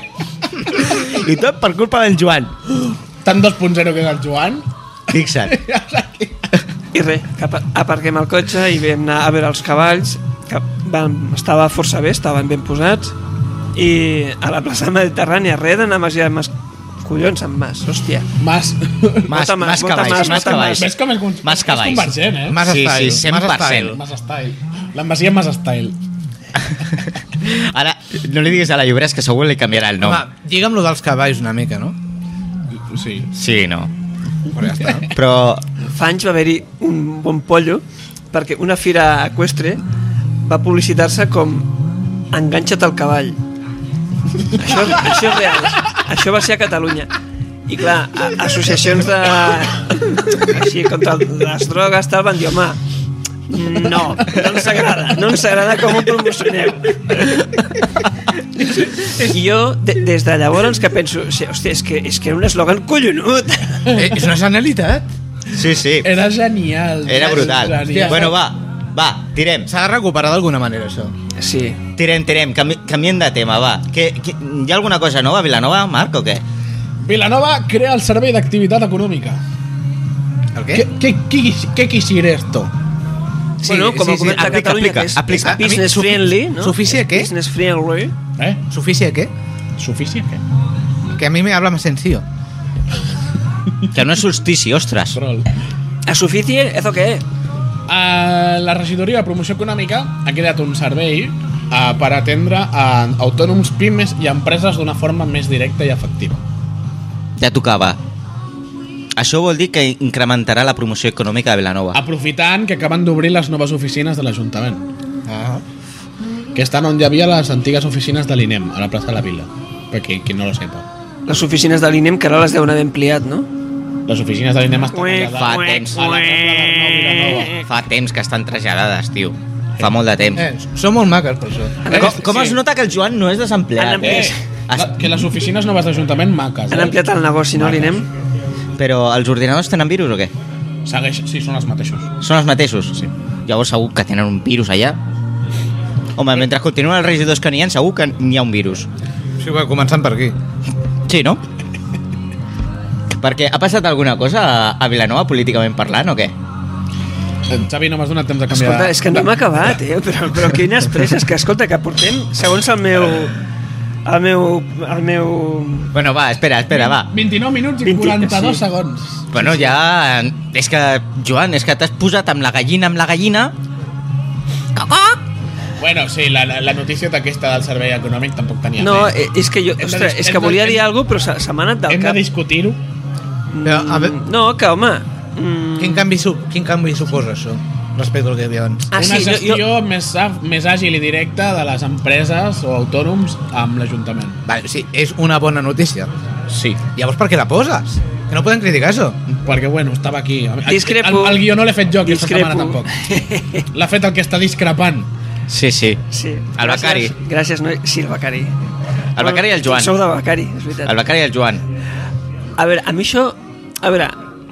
I tot per culpa del Joan. Tant 2.0 que és el Joan. *laughs* Fixa't. I res, que apa- aparquem el cotxe i vam anar a veure els cavalls, que van, estava força bé, estaven ben posats, i a la plaça Mediterrània, res d'anar a Masia Mas... Collons, amb Mas, hòstia. Mas. Mas, Vota mas, mas vota cavalls, mas, mas vota cavalls. Ves com és, con- Mas és cavalls. convergent, eh? Mas sí, style, sí, mas 100%. style. Mas Style. La Masia Mas Style. *laughs* Ara, no li diguis a la Llobres que segur li canviarà el nom. Home, digue'm lo dels cavalls una mica, *laughs* no? Sí. Sí, no. Però ja està. Però Fa anys va haver-hi un bon pollo, perquè una fira equestre va publicitar-se com enganxa't al cavall. Això, això és real. Això va ser a Catalunya. I clar, a, associacions de... així contra les drogues tal, van dir, home, no, no ens agrada, no ens agrada com ho promocioneu. I jo, de, des de llavors, que penso, "Sí, hòstia, és que, és que era un eslògan collonut. Eh, és una genialitat. sí, sí, Era genial. era brutal. Genial. Bueno, va, va, tirem. S'ha de recuperar d'alguna manera, això. Sí, Tirem, tirem, canvi, canviem de tema, va. Que, que, hi ha alguna cosa nova a Vilanova, Marc, o què? Vilanova crea el Servei d'Activitat Econòmica. El ¿Qué, qué, qué, qué quisiera esto? Sí, bueno, com sí, a comença sí, aplica, Catalunya, aplica, que és, aplica. és business A mi, sufi- friendly, no? suficie És què? Business friendly. ¿Eh? ¿Suficie qué? ¿Suficiente? Que a mí me habla más sencillo. Que no és solstici, ostres. Troll. A suficie, eso què? A la regidoria de promoció econòmica ha creat un servei eh, per atendre a autònoms, pimes i empreses d'una forma més directa i efectiva. Ja tocava. Això vol dir que incrementarà la promoció econòmica de Vilanova. Aprofitant que acaben d'obrir les noves oficines de l'Ajuntament, Ah. que estan on hi havia les antigues oficines de l'INEM, a la plaça de la Vila, per qui, qui no lo sepa. Les oficines de l'INEM, que ara les deuen haver ampliat, no? les oficines de l'INEM estan Uec, allà Fa dalt. temps. A la Rambla d'Arnau, Vilanova. Fa temps que estan traslladades, tio. Fa molt de temps. Eh, són molt maques, per això. Han Com, ampliat- com es nota que el Joan no és Han desempleat, eh? ampliat- Es, La- Que les oficines noves d'Ajuntament maques. eh? Han ampliat el negoci, no, l'INEM? però els ordinadors tenen virus o què? Segueix, sí, són els mateixos. Són els mateixos? Sí. Llavors segur que tenen un virus allà. Home, mentre continuen els regidors que n'hi ha, segur que n'hi ha un virus. Sí, va, començant per aquí. Sí, no? Perquè ha passat alguna cosa a, a Vilanova políticament parlant o què? Eh, Xavi, no m'has donat temps de canviar. Escolta, és que no hem acabat, eh? Però, *laughs* però quines presses, que escolta, que portem, segons el meu... El meu... El meu... Bueno, va, espera, espera, va. 29 minuts i 20, 42 sí. segons. Bueno, ja... És que, Joan, és que t'has posat amb la gallina, amb la gallina... Bueno, sí, la, la, la notícia aquesta del servei econòmic tampoc tenia No, res. eh, és que jo... Hem de Ostres, dis- és hem que de- volia hem- dir alguna cosa, però se, se m'ha anat del Hem de cap. discutir-ho. Però, a veure, No, que home... mm, quin canvi, su quin canvi suposa això respecte al que hi havia abans? Ah, Una sí, no, gestió jo, més, af- més àgil i directa de les empreses o autònoms amb l'Ajuntament. Vale, sí, és una bona notícia. Sí. Llavors per què la poses? Que no poden criticar això. Perquè, bueno, estava aquí. A- a- Discrepo. El, el guió no l'he fet jo aquesta Discrepo. setmana, *laughs* tampoc. L'ha fet el que està discrepant. Sí, sí. Sí. El Becari. Gràcies, gràcies noi. Sí, el Becari. El Becari i el Joan. Sou de Becari, és veritat. El Becari i el Joan. A veure, a mi això... A veure,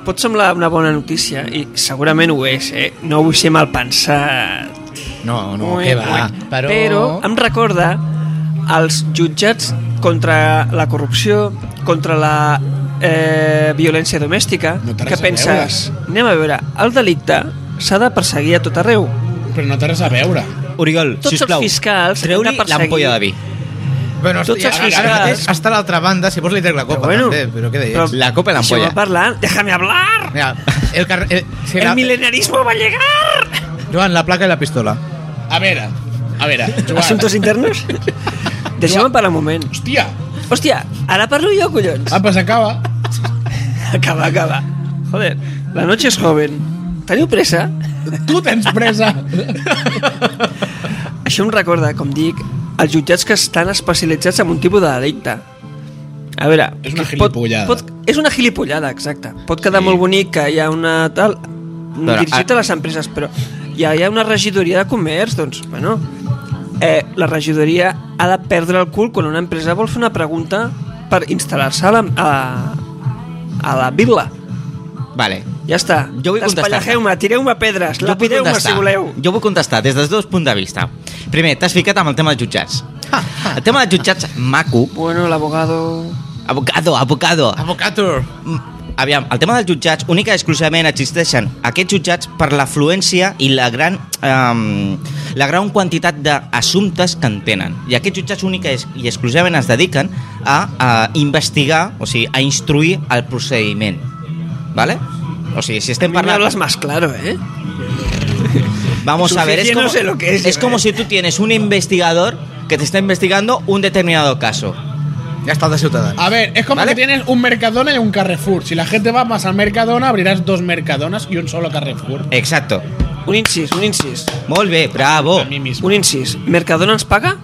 pot semblar una bona notícia, i segurament ho és, eh? No vull ser mal pensat. No, no, Ué, què va. ué. Però... però em recorda els jutjats contra la corrupció, contra la eh, violència domèstica, No té que res a penses, anem a veure, el delicte s'ha de perseguir a tot arreu. Però no té res a veure. Oriol, Tots els sisplau, fiscals han de treu-li perseguir- l'ampolla de vi. Bueno, tots hòstia, els ara- fiscals- Ara mateix està a l'altra banda, si vols li trec la copa, també, però què deies? La copa i l'ampolla. deixeu-me parlar, déjame hablar! Mira, el, car el, si El la, milenarismo va a llegar! Joan, la placa i la pistola. A veure, a *laughs* veure, Joan. Assumptos internos? Deixeu-me parlar un moment. Hòstia, Hòstia, ara parlo jo, collons. apa, s'acaba. *laughs* Acaba, acaba. Joder, la noche es joven. Teniu pressa? Tu tens presa. Això em recorda, com dic, els jutjats que estan especialitzats en un tipus de delicte. A veure... És una que pot- gilipollada. Pot, és una gilipollada, exacte. Pot quedar Sí. molt bonic que hi ha una tal... Però, ah. Però, dirigit a les empreses, però hi ha, hi ha una regidoria de comerç, doncs, bueno... Eh, la regidoria ha de perdre el cul quan una empresa vol fer una pregunta per instal·lar-se a, la- a, a la vila. Vale. Ja està. Jo vull contestar. Despallageu-me, tireu-me Jo pedres, vull lapideu-me si contestar. voleu. Jo vull contestar des dels dos punts de vista. Primer, t'has ficat amb el tema dels jutjats. El tema dels jutjats, maco. Bueno, l'abogado... Abocado, abocado. Avocator! Mm, Aviam, el tema dels jutjats, única i exclusivament existeixen aquests jutjats per l'afluència i la gran, eh, la gran quantitat d'assumptes que en tenen. I aquests jutjats única i ex- i exclusivament es dediquen a, a investigar, o sigui, a instruir el procediment. Vale? O sigui, si estem A mí me parlant... hablas más claro, ¿eh? Vamos a ver, es Suficiente, como, no sé lo que es, es ¿eh? como si tú tienes un investigador que te está investigando un determinado caso. Ja està el de Ciutadans. A ver, es como ¿Vale? que tienes un Mercadona y un Carrefour. Si la gente va más al Mercadona, abrirás dos Mercadonas y un solo Carrefour. Exacto. Un incís, un incís. Molt bé, bravo. A mí mismo. Un incís. Mercadona ens paga?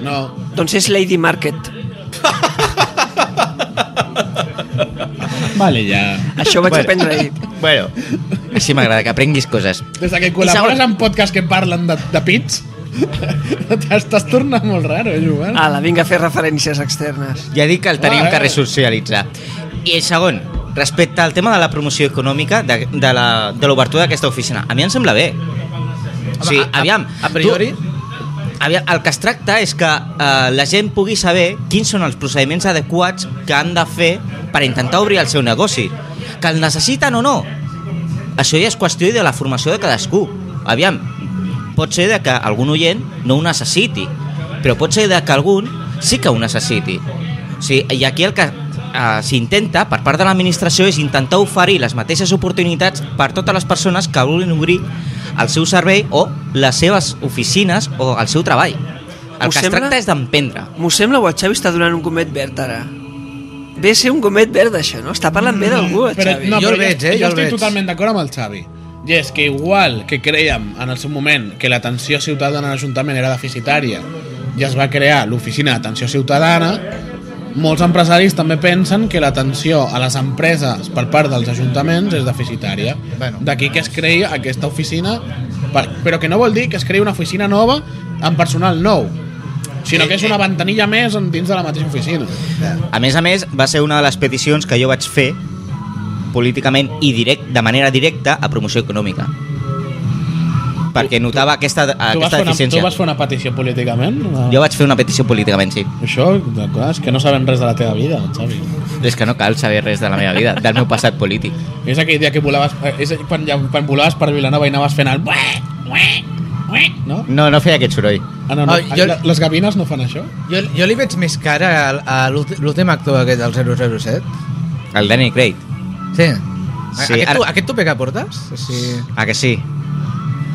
No. Doncs és Lady *laughs* Market. Vale, ya. Això ho vaig Bueno. aprendre ahir. Bueno, així m'agrada que aprenguis coses. Des de que I col·labores segon- en podcasts que parlen de, de pits, *laughs* t'estàs tornant molt raro, eh, Joan? Ala, vinga a fer referències externes. Ja dic que el tenim Ah, eh. que resocialitzar. I segon, respecte al tema de la promoció econòmica de, de la- de l'obertura d'aquesta oficina, a mi em sembla bé. O sigui, a- aviam, Ah, a priori- tu- aviam, el que es tracta és que eh, la gent pugui saber quins són els procediments adequats que han de fer per intentar obrir el seu negoci. Que el necessiten o no, això ja és qüestió de la formació de cadascú. Aviam, pot ser de que algun oient no ho necessiti, però pot ser de que algun sí que ho necessiti. O sigui, I aquí el que eh, s'intenta per part de l'administració és intentar oferir les mateixes oportunitats per totes les persones que vulguin obrir el seu servei o les seves oficines o el seu treball. El Us que es sembla? tracta és d'emprendre. M'ho sembla o el Xavi està donant un gomet verd ara? Ve a ser un gomet verd, això, no? Està parlant Mm, bé d'algú, el Però, Xavi. no, Jo però el veig, jo, eh, jo jo el estic veig. totalment d'acord amb el Xavi. I és que igual que creiem en el seu moment que l'atenció ciutadana a l'Ajuntament era deficitària i es va crear l'oficina d'atenció ciutadana, molts empresaris també pensen que l'atenció a les empreses per part dels ajuntaments és deficitària. Bueno. D'aquí que es creï aquesta oficina, per, però que no vol dir que es creï una oficina nova amb personal nou, Eh, sinó que és una ventanilla més en- dins de la mateixa oficina. A més a més, va ser una de les peticions que jo vaig fer políticament i direct, de manera directa a promoció econòmica. Perquè notava aquesta, Tu vas, aquesta fer una, tu deficiència. vas fer una petició políticament? Jo vaig fer una petició políticament, sí. Això, de- clar, és que no sabem res de la teva vida, Xavi. És que no cal saber res de la meva vida, del meu passat polític. És aquell dia que volaves, eh, és quan, ja, quan volaves per Vilanova i anaves fent el... bué, bué, bué, No? No, no feia aquest soroll. Ah, no, no. Ah, jo- Ah, Les gavines no fan això? Jo, jo li veig més cara a- a l'últim l'últim actor aquest del 007. El Danny Craig. Sí. Sí, sí aquest, ara- tu, aquest topé que portes? Sí. Ah, que sí?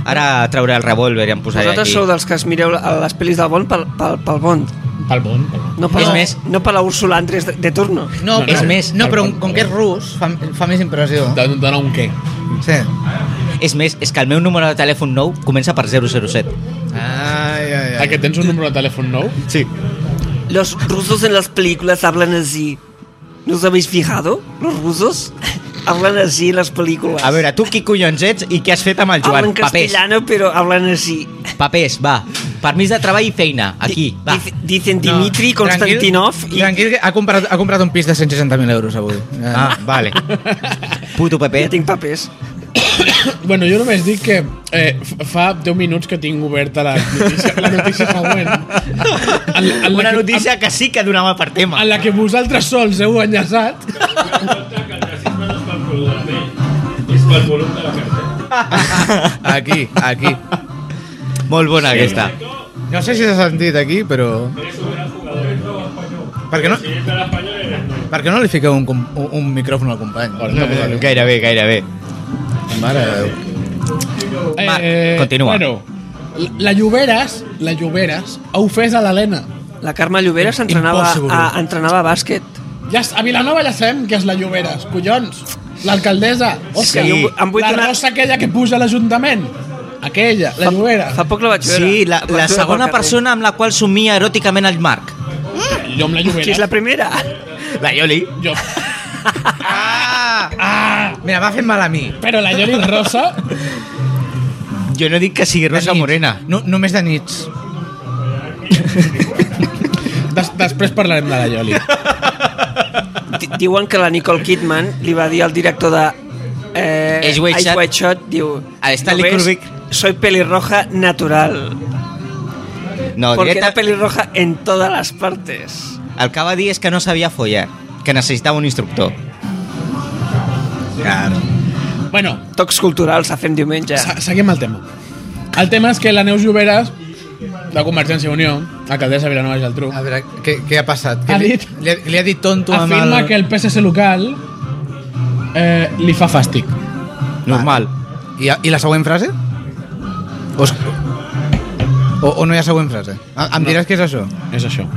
Ara trauré el revòlver i em posaré Vosaltres aquí. sou dels que es mireu a les pel·lis del Bond pel, pel, pel Bond, Pel bon, pel bon. no per, És la, més- no per la Úrsula Andrés de, de turno. No, No, però, és més- no, però com que és rus, fa, fa més impressió. Dona, dona un què. Sí. És més, és que el meu número de telèfon nou comença per 007. Ai, ai, Ah, que tens un número de telèfon nou? Sí. Los rusos en las películas hablan así. ¿No os habéis fijado? Los rusos hablan así en las películas. A veure, tu qui collons ets i què has fet amb el Joan? hablan castellano, pero hablan así. Papers, va. Permís de treball i feina, aquí, Di- va. dic- dicen Dimitri Konstantinov Tranquil, y tranquil que ha comprat, ha comprat un pis de 160.000 euros avui. Ah, vale. Puto ya Pepe. tengo papés. Bueno, jo només dic que eh, f- fa 10 minuts que tinc oberta la notícia, la notícia següent. En, en la Una que- notícia que sí que donava per En, tema. en la que vosaltres sols heu enllaçat. que el racisme no és pel color del pell, és pel volum de la cartera. Ah, Aquí, aquí. Molt bona aquesta. No sé si s'ha sentit aquí, però... Eres un gran jugador. Eres un gran espanyol. Per què no, Si ets de l'Espanyol, eres noi. per què no li fiqueu un, com- un, un micròfon al company? Eh, Gairebé, gairebé. Mare de Déu. Va, continua. eh, Bueno, la Lloberes, la Lloberes, ha ofès a l'Helena. La Carme Lloberas entrenaba Impossible. a, entrenaba a bàsquet. Ja, s- a Vilanova ja sabem que és la Lloberes, collons. L'alcaldessa, hòstia, Sí. Jo em vull la donar- rosa aquella que puja a l'Ajuntament. Aquella, la Lloberes. Fa poc la vaig veure. Sí, la, Vaig la veure pel segona carrer. persona amb la qual somia eròticament el Marc. Jo amb la Qui és Lloberes. la primera? La Ioli. Jo, Ah! ah! Mira, m'ha fet mal a mi. però la Llori Rosa Jo no dic que sigui Rosa De nits. Morena. No, només de nits. Des després parlarem de la Ioli. Di- Diuen que la Nicole Kidman li va dir al director de eh, Eyes Wide Shut. Wide Shut, diu, A Stanley "No ves? Kubrick. soy pelirroja natural. No, Porque directa... era pelirroja en todas las partes. El que va dir és que no sabia follar, que necessitava un instructor. Claro. Bueno, Tocs culturals a fem diumenge. se- seguim el tema. El tema és que la Neus Lloberes, de Convergència i Unió, alcaldessa de Vilanova i Geltrú, A veure, què, què ha passat? Que Ha li, dit- li, li ha dit tonto amb el... afirma que el PSC local eh, li fa fàstic. Normal. I, I la següent frase? O, es- o, o no hi ha següent frase? Ah, Em, em diràs què és això? És això.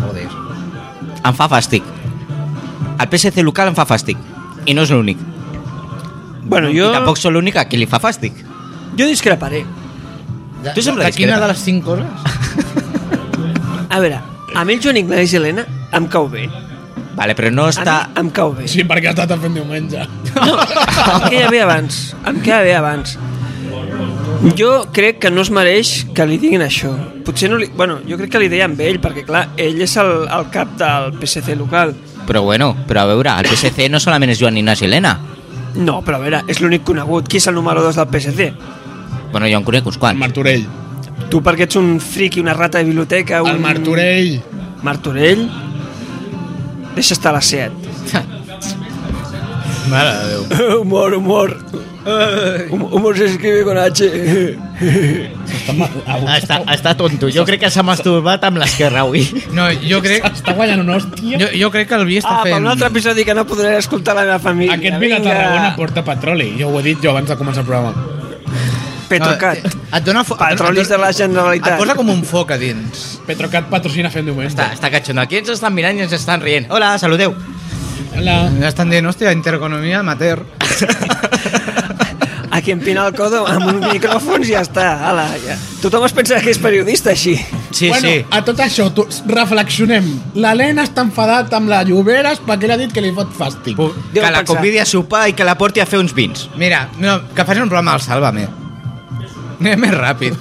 Joder. Em fa fàstic. El PSC local em fa fàstic. I no és l'únic. Bueno, I jo, tampoc sóc l'únic a qui li fa fàstic. jo discreparé. De, Tu sempre de quina discrepa. de les cinc coses? A veure, a mi el Joan Ignasi Helena em cau bé. Vale, però no A mi està... em cau bé. Sí, perquè ha estat fent diumenge. No, em queda bé abans. Em queda bé abans. Jo crec que no es mereix que li diguin això. Potser no li... Bueno, jo crec que li deien bé ell, perquè clar, ell és el, el cap del PSC local. Però bueno, però a veure, el PSC no solament és Joan Ignasi Helena. No, però a veure, és l'únic conegut. Qui és el número 2 del PSC? Bueno, jo en conec uns El quants. Martorell. Tu perquè ets un friqui, una rata de biblioteca... Un... El Martorell. Martorell... Deixa estar la Seat. Mare de Déu. *laughs* Humor, humor. Hum- Humor se escribe con H. Està, ma- avui Ah, Està, està tonto. Jo crec que s'ha masturbat amb l'esquerra avui. No, jo crec... està guanyant un hòstia. Jo, jo crec que el Vi està Ah, per fent... un altre episodi que no podré escoltar la meva família. Aquest vi de Vinga. Tarragona porta petroli. Jo ho he dit jo abans de començar el programa. Petrocat. *laughs* No, et dona... fo- Petrolis de la Generalitat. Et posa com un foc a dins. Petrocat patrocina fent diumenge. Està, està catxondo. Aquí ens estan mirant i ens estan rient. Hola, saludeu. Hola. Estan dient, hòstia, intereconomia amateur. Aquí empina el codo amb un micròfon i ja està. Ala, ja. Tothom es pensa que és periodista així. Sí, bueno, sí. a tot això, tu, reflexionem. L'Helena està enfadat amb la Lloberes perquè li ha dit que li fot fàstic. Puc- Que la pensar. convidi a sopar i que la porti a fer uns vins. Mira, no, que facin un programa al Sálvame. *laughs* Anem més ràpid.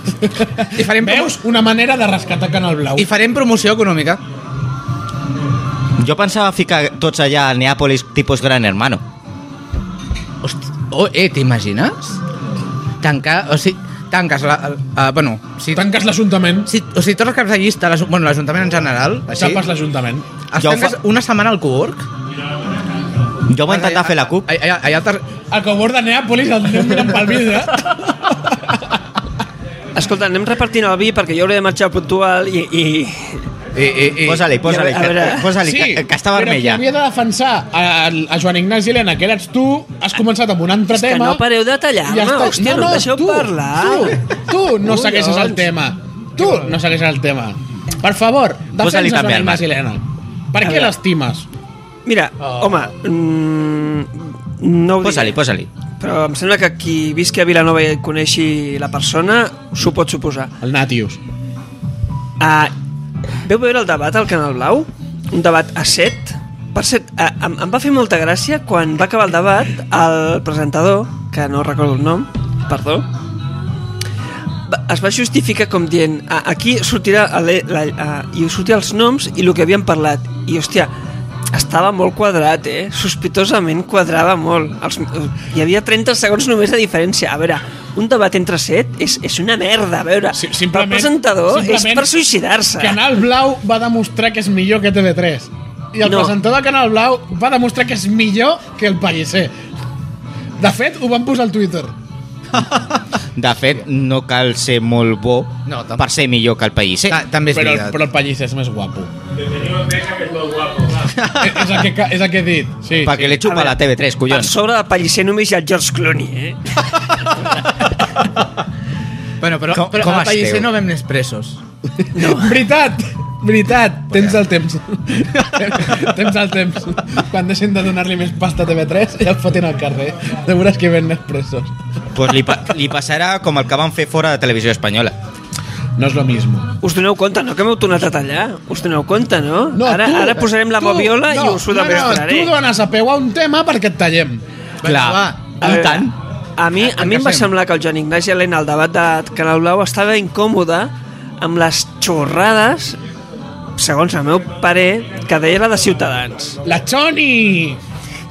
I farem, promo- Veus? Una manera de rescatar Canal Blau. I farem promoció econòmica. Jo pensava ficar tots allà a Neàpolis tipus Gran Hermano. Hosti, oh, eh, t'imagines? Tancar, o sigui, tanques la... Uh, bueno, si, I tanques l'Ajuntament, si, o sigui, tots els caps de llista, l'Ajun- bueno, l'Ajuntament en general, així, tapes l'Ajuntament. els Ja ho tanques fa- una setmana al Cowork. Jo vaig intentar fer la CUP. Allà, allà, allà ter- A Cobor de Neàpolis el anem mirant pel vidre. Escolta, anem repartint el vi perquè jo hauré de marxar puntual i... i... i, i, i, Posa-li, posa-li, i a veure- que- posa-li, que, que està vermella. Però qui havia de defensar a, a Joan Ignasi Helena, que eres tu, has començat amb un altre És que tema... no pareu de tallar-me, i eh? està- hòstia, no em deixeu parlar. Tu, tu no Collons. segueixes el tema. Tu no segueixes el tema. Per favor, defensa Posa-li Joan també al Ignasi Marc. Helena. Per A què veure. l'estimes? Mira, home, mm, no ho diré. Posa-li, posa-li. Però em sembla que qui visqui a Vilanova i coneixi la persona s'ho pot suposar. El Natius. Uh, veu veure el debat al Canal Blau? Un debat a 7? Per cert, uh, em, em va fer molta gràcia quan va acabar el debat el presentador, que no recordo el nom, perdó, va- es va justificar com dient "Ah, aquí sortirà el, la, ah, i sortia els noms i el que havien parlat i hòstia, estava molt quadrat eh? sospitosament quadrava molt els, eh, hi havia 30 segons només de diferència a veure, un debat entre set és, és una merda, a veure Sí, simplement- el presentador és simplement per suïcidar-se Canal Blau va demostrar que és millor que TV3. I el No. no. presentador de Canal Blau va demostrar que és millor que el Pellicer. De fet, ho van posar al Twitter. De fet, no cal ser molt bo No, tampoc. per ser millor que el país. Eh? ta, també és Però, el- veritat. però el Pellicer és més guapo. *laughs* Bienvenido a Meca, que es muy guapo. va. Eh, és, el que, ca- és el que he dit. Sí, Perquè sí. li xupa A veure, la TV3, per collons. sobre del Pellicer només hi ha el George Clooney eh? bueno, però, Com- però com al país esteu? no vam més presos. No. *laughs* Veritat! Veritat! Tens el temps. *laughs* tens el temps. Quan deixin de donar-li més pasta a TV3 ja el fotin al carrer. De veuràs que ven més presos. Pues li, pa li passarà com el que van fer fora de televisió espanyola. No és lo mismo. us doneu compte, no? que m'heu tornat a tallar us doneu compte, no? No, ara, tu, ara posarem la tu, bobiola i us ho no, no, demostraré tu dones a peu a un tema perquè et tallem. Clar. va. A I veure, tant. A mi, a mi em va semblar que el Joan Ignasi Helena al debat de Canal Blau estava incòmode amb les xorrades, segons el meu parer, que deia la de Ciutadans. La Choni!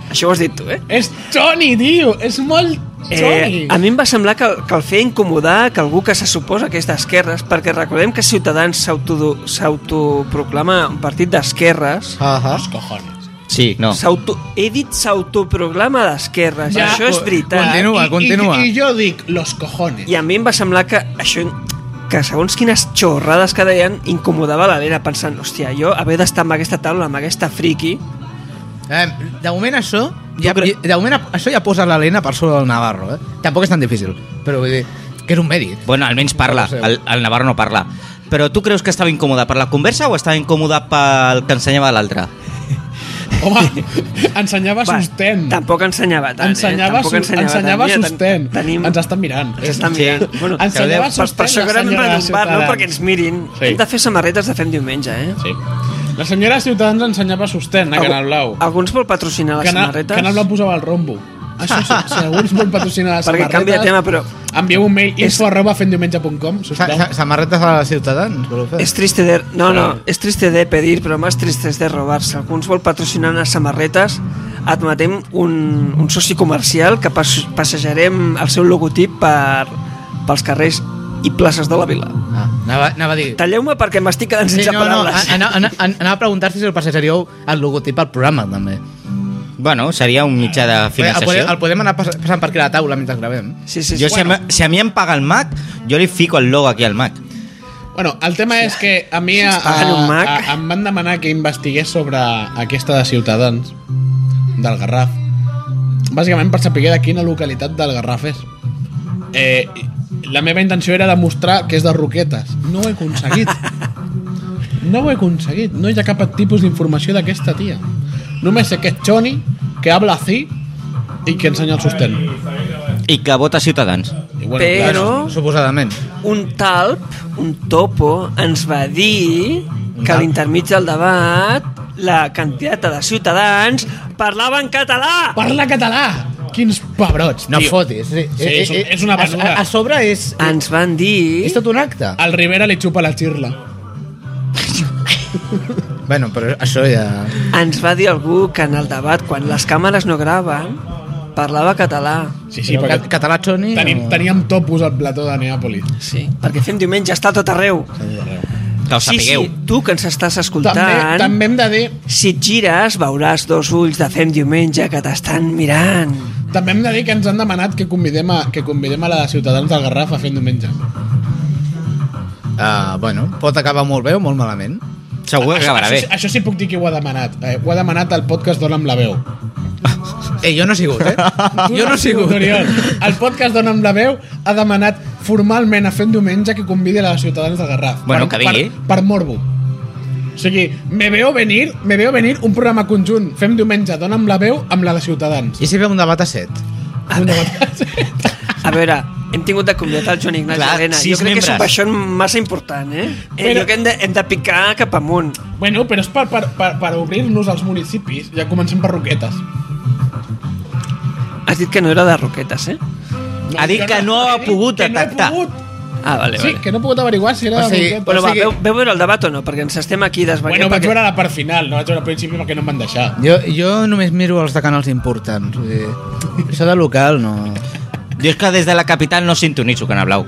Això ho has dit tu, eh? És Choni, tio! És molt Choni! Eh, a mi em va semblar que, que el feia incomodar que algú que se suposa que és d'esquerres perquè recordem que Ciutadans s'autodo- s'autoproclama un partit d'esquerres Uh -huh. Los cojones. Sí, no. S'auto... He dit s'autoproclama d'esquerres, Ja, això és co- veritat. Continua, I- i- continua. I, jo dic, los cojones. I a mi em va semblar que això que segons quines xorrades que deien incomodava l'Helena pensant, hòstia, jo haver d'estar amb aquesta taula, amb aquesta friki Eh, de moment això ja, cre- de moment això ja posa l'Helena per sobre del Navarro eh? tampoc és tan difícil però vull dir que és un mèrit Bueno, almenys parla. El, el Navarro no parla. Però tu creus que estava incòmode per la conversa o estava incòmode pel que ensenyava l'altre? *laughs* Home, ensenyava Va, sostén. Tampoc ensenyava tant, Ensenyava, eh? Tampoc su- ensenyava tant. Mira, ten- sostén. tenim... Ens estan mirant. Ens estan Sí. mirant. Bueno, Ensenyava per, per sostén, això la que ara hem senyora de renovat, no? Ciutadans. Perquè ens mirin. Sí. Hem de fer samarretes de Fem Diumenge, eh? Sí. La senyora de Ciutadans ensenyava sostén a Canal Blau. Alguns vol patrocinar les Canal, samarretes? Canal Blau posava el rombo. Això sí, si algú ens vol patrocinar les Perquè samarretes... canvia de tema, però- Envieu un mail info arroba fendiumenge.com, Sa- sisplau. sa- samarretes a les ciutadans voleu fer? És triste de... No, no, és triste de pedir, però més triste és de robar-se. Alguns vol patrocinar unes samarretes, admetem un, un soci comercial que pas, passejarem el seu logotip per, pels carrers i places de la vila. ah, anava, anava a dir Talleu-me perquè m'estic quedant Sí, sense no, no, paraules. anava, anava a preguntar si el passejaríeu el logotip al programa també Bueno, seria un mitjà de el podem, el finançació. podem anar pas- passant per aquí la taula mentre gravem Sí, sí, sí. Jo, si, a, mi- si a mi em paga el Mac, jo li fico el logo aquí al Mac. Bueno, el tema és que a mi a, ens paguen un a, Mac. a, em van demanar que investigués sobre aquesta de Ciutadans del Garraf bàsicament per saber de quina localitat del Garraf és eh, la meva intenció era demostrar que és de Roquetes no ho he aconseguit no ho he aconseguit no hi ha cap tipus d'informació d'aquesta tia només sé que és Choni que habla así i que ensenya el sostén I que vota Ciutadans. I Però- clar, No? suposadament un talp, un topo, ens va dir que a talp. l'intermig del debat la quantitat de ciutadans parlaven català. Parla català! Quins pebrots, No tio. fotis. Sí, Eh, Sí, és un- és una A, basura. a sobre és... Ens van dir... És tot un acte. Al Rivera li xupa la xirla. Bueno, però això ja... Ens va dir algú que en el debat, quan les càmeres no graven, parlava català. Sí, sí, Però ca- perquè Català Choni... tenim, o- teníem topos al plató de Neàpolis. Sí. Perquè fem diumenge, està a tot arreu. Que ho Sí, sapigueu. sí, tu que ens estàs escoltant... També, també hem de dir Si et gires, veuràs dos ulls de fem diumenge que t'estan mirant. també hem de dir que ens han demanat que convidem a, que convidem a la de Ciutadans del Garraf a fer diumenge. Ah, bueno, pot acabar molt bé o molt malament. Segur que acabarà bé. Això, això sí puc dir que ho ha demanat. Eh, ho ha demanat el podcast Dóna'm la veu. Eh, jo no he sigut, eh? jo no he sigut. Oriol, el podcast Dóna'm la veu ha demanat formalment a fent diumenge que convidi a la de Ciutadans del Garraf. Bueno, que vingui. Per, per morbo. O sigui, me veo venir, me veo venir un programa conjunt. Fem diumenge, dona'm la veu amb la de Ciutadans. I si ve un debat a set? Un debat. A veure, hem tingut de convidar el Joan Ignasi Clar, Elena. Jo sis crec que és un membres. baixón massa important, eh? eh Però- jo crec que hem de, hem de picar cap amunt. bueno, però és per, per, per, per obrir-nos als municipis. Ja comencem per Roquetes. Has dit que no era de roquetes, eh? Ha dit jo que no ha he dit pogut que no he detectar. pogut. Ah, vale, Sí, vale. que no he pogut averiguar si era O de sigui, Roquetes. Bueno, o va, sigui- veu, veu veure el debat o no? Perquè ens estem aquí desveient. Bueno, vaig perquè... veure la part final, no vaig veure al principi perquè no em van deixar. Jo, jo només miro els de canals importants. Vull dir, això de local no... Jo és que des de la capital no sintonizo Canal Blau.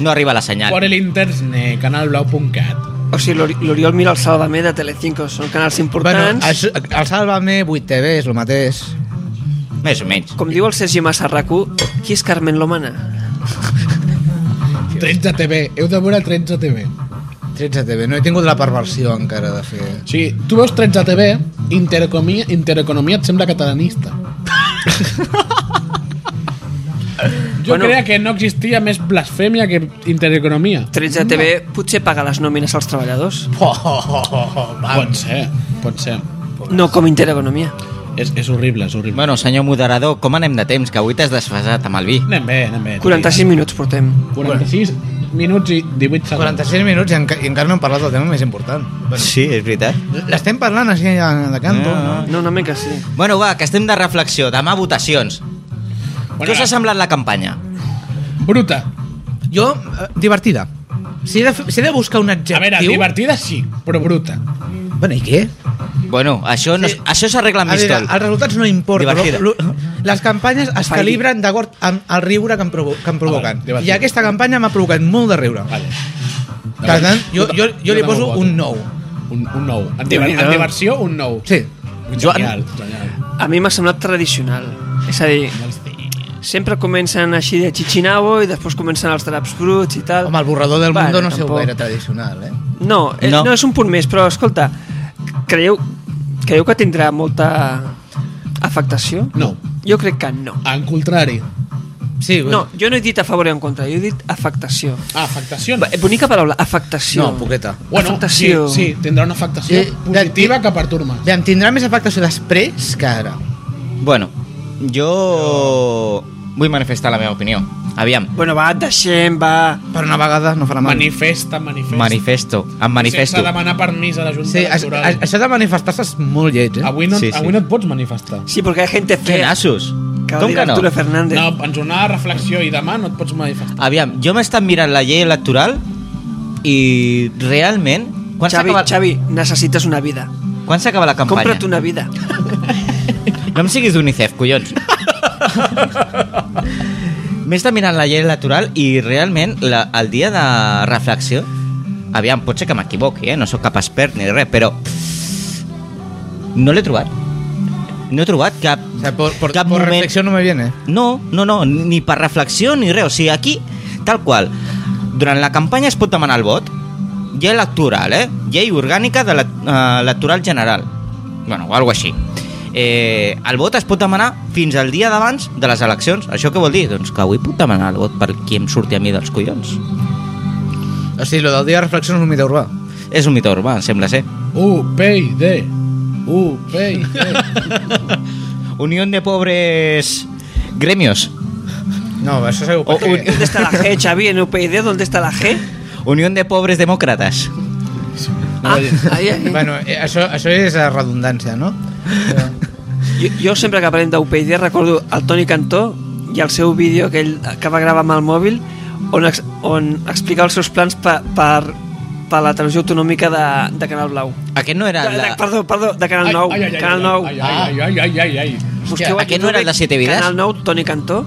No arriba la senyal. Por el interne, canalblau.cat. O sigui, l'Ori- l'Oriol mira el Salvamé de Telecinco, són canals importants. Bueno, això, el Sálvame, 8TV és el mateix. Més o menys. Com diu el Sergi Massarracú, qui és Carmen Lomana? 13 TV, heu de veure 13 TV. 13TV, no he tingut la perversió encara de fer... O sigui, tu veus 13 TV, Intereconomia, Intereconomia et sembla catalanista. Jo Bueno. bueno, creia que no existia més blasfèmia que Intereconomia. 13 TV potser paga les nòmines als treballadors, Oh, oh, oh, oh, Pot ser, pot ser. no com Intereconomia. És, és horrible, és horrible. Bueno, senyor moderador, com anem de temps? Que avui t'has desfasat amb el vi. Anem bé, anem bé. 46 minuts portem. 46 minuts i 18 segons. 46 minuts i, enca i encara no hem parlat del tema més important. Sí, és veritat. L'estem parlant així a- de canto, Ah. no? No, una mica sí. Bueno, va, que estem de reflexió. Demà votacions. Bueno, Què us ha semblat la campanya? Bruta. Jo, eh, divertida. Si he, de, fer- si he de buscar un adjectiu... A veure, divertida sí, però bruta. Bueno, i què? Bueno, això, no, Sí. això s'arregla amb A veure, Mistol. els resultats no importen. Divertida. lo- lo- Les campanyes es Faili. calibren d'acord amb el riure que em, provo que em provoquen. Ah, vale, I divertida. aquesta campanya m'ha provocat molt de riure. Vale. Per tant, jo, jo, jo li també poso voto. un 9. Un, un nou. En, diver Déu-n'hi-do. en diversió, un nou. Sí. Joan. Genial, genial. A mi m'ha semblat tradicional. És a dir, sempre comencen així de xixinabo i després comencen els draps bruts i tal. Home, el borrador del Bueno, mundo no sé tampoc. gaire tradicional, eh? No, eh, no. No. no és un punt més, però escolta, creieu, creieu que tindrà molta afectació? No. Jo crec que no. En contrari. Sí, No, jo no he dit a favor i en contra, jo he dit afectació. Ah, afectació. Ba- Bonica paraula, afectació. No, poqueta. Bueno, eh, afectació. Sí, sí, tindrà una afectació Sí, positiva de- que pertorma. Bé, em tindrà més afectació després que ara. Bueno, jo vull manifestar la meva opinió. Aviam, Bueno, va, et deixem, va. Per una vegada no farà mal. Manifesta, manifesta. manifesto, em manifesto. Sense demanar permís a la Junta Sí, sí, a, a, Electoral. això de manifestar-se és molt lleig, eh? avui, no, Sí, sí, sí. sí. avui no et pots manifestar. Sí, perquè hi ha gent Què fea. nassos? Que ho Com dirà que no? Arturo Fernández. No, en jornada de reflexió i demà no et pots manifestar. Aviam, jo m'he estat mirant la llei electoral i realment... Quan Xavi, s'acaba Xavi, necessites una vida. quan s'acaba la campanya? Compra't una vida. No em siguis d'UNICEF, collons. M'he estat mirant la llei electoral i realment la, el dia de reflexió aviam, pot ser que m'equivoqui, eh? no sóc cap expert ni res, però no l'he trobat. No he trobat cap... O sea, por, por, Cap por moment. reflexió no me viene. No, no, no, ni per reflexió ni res. O sigui, aquí, tal qual, durant la campanya es pot demanar el vot. Llei electoral, eh? Llei orgànica de l'electoral general. Bueno, o alguna així. Eh, el vot es pot demanar fins al dia d'abans de les eleccions. Això què vol dir? Doncs que avui puc demanar el vot per qui em surti a mi dels collons. O sigui, lo del dia de reflexió no és un mite urbà. És un mite urbà, em sembla ser. Uh, PID. Uh, *laughs* PID. Unió de pobres gremios. No, això segur O perquè... ¿Dónde está la G, Xavi? En UPyD, ¿dónde está la G? Unión de Pobres Demócratas. Ah, ahí, ahí. Bueno, eh, això, això és eh, redundància, no? Eh, Jo, jo sempre que aparent d'UPyD recordo el Toni Cantó i el seu vídeo que ell que va gravar amb el mòbil on, ex, on explicava els seus plans per, per, per la televisió autonòmica de, de Canal Blau. Aquest no era De, de, la... perdó, perdó, de Canal 9. Canal 9. Ai, ai, ai, ai, ai, ai. Busqueu Hòstia, a aquest no era YouTube el de Siete Vidas? Canal 9, Toni Cantó.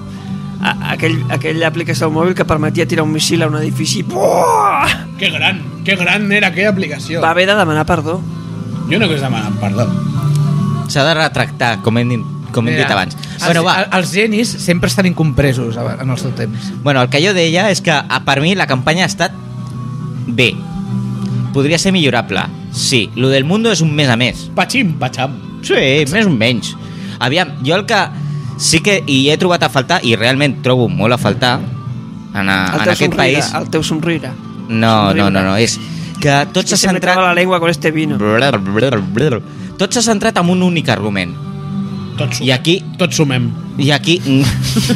A, aquell, aquella aplicació al mòbil que permetia tirar un missil a un edifici. Buah! Que gran, que gran era aquella aplicació. Va haver de demanar perdó. Jo no que us demanant perdó. S'ha de retractar, com hem, dit- com hem mira, dit abans. Els, Bueno, va. el- els genis sempre estan incompresos a- en el seu temps. Bueno, el que jo deia és que a, per mi la campanya ha estat bé. Podria ser millorable, sí. Lo del Mundo és un més a més. Pachim, pacham. Sí, més o menys. Aviam, jo el que sí que hi he trobat a faltar, i realment trobo molt a faltar, en, a, Ah, El en teu aquest somriure, país... El teu somriure. No, no, no, no, és que tot Se, s'ha se me centrat... traba la llengua con este vino. Brr, brr, brr. Tot s'ha centrat en un únic argument. Tots sumem. I aquí- Tots sumem. I aquí... mm, *laughs*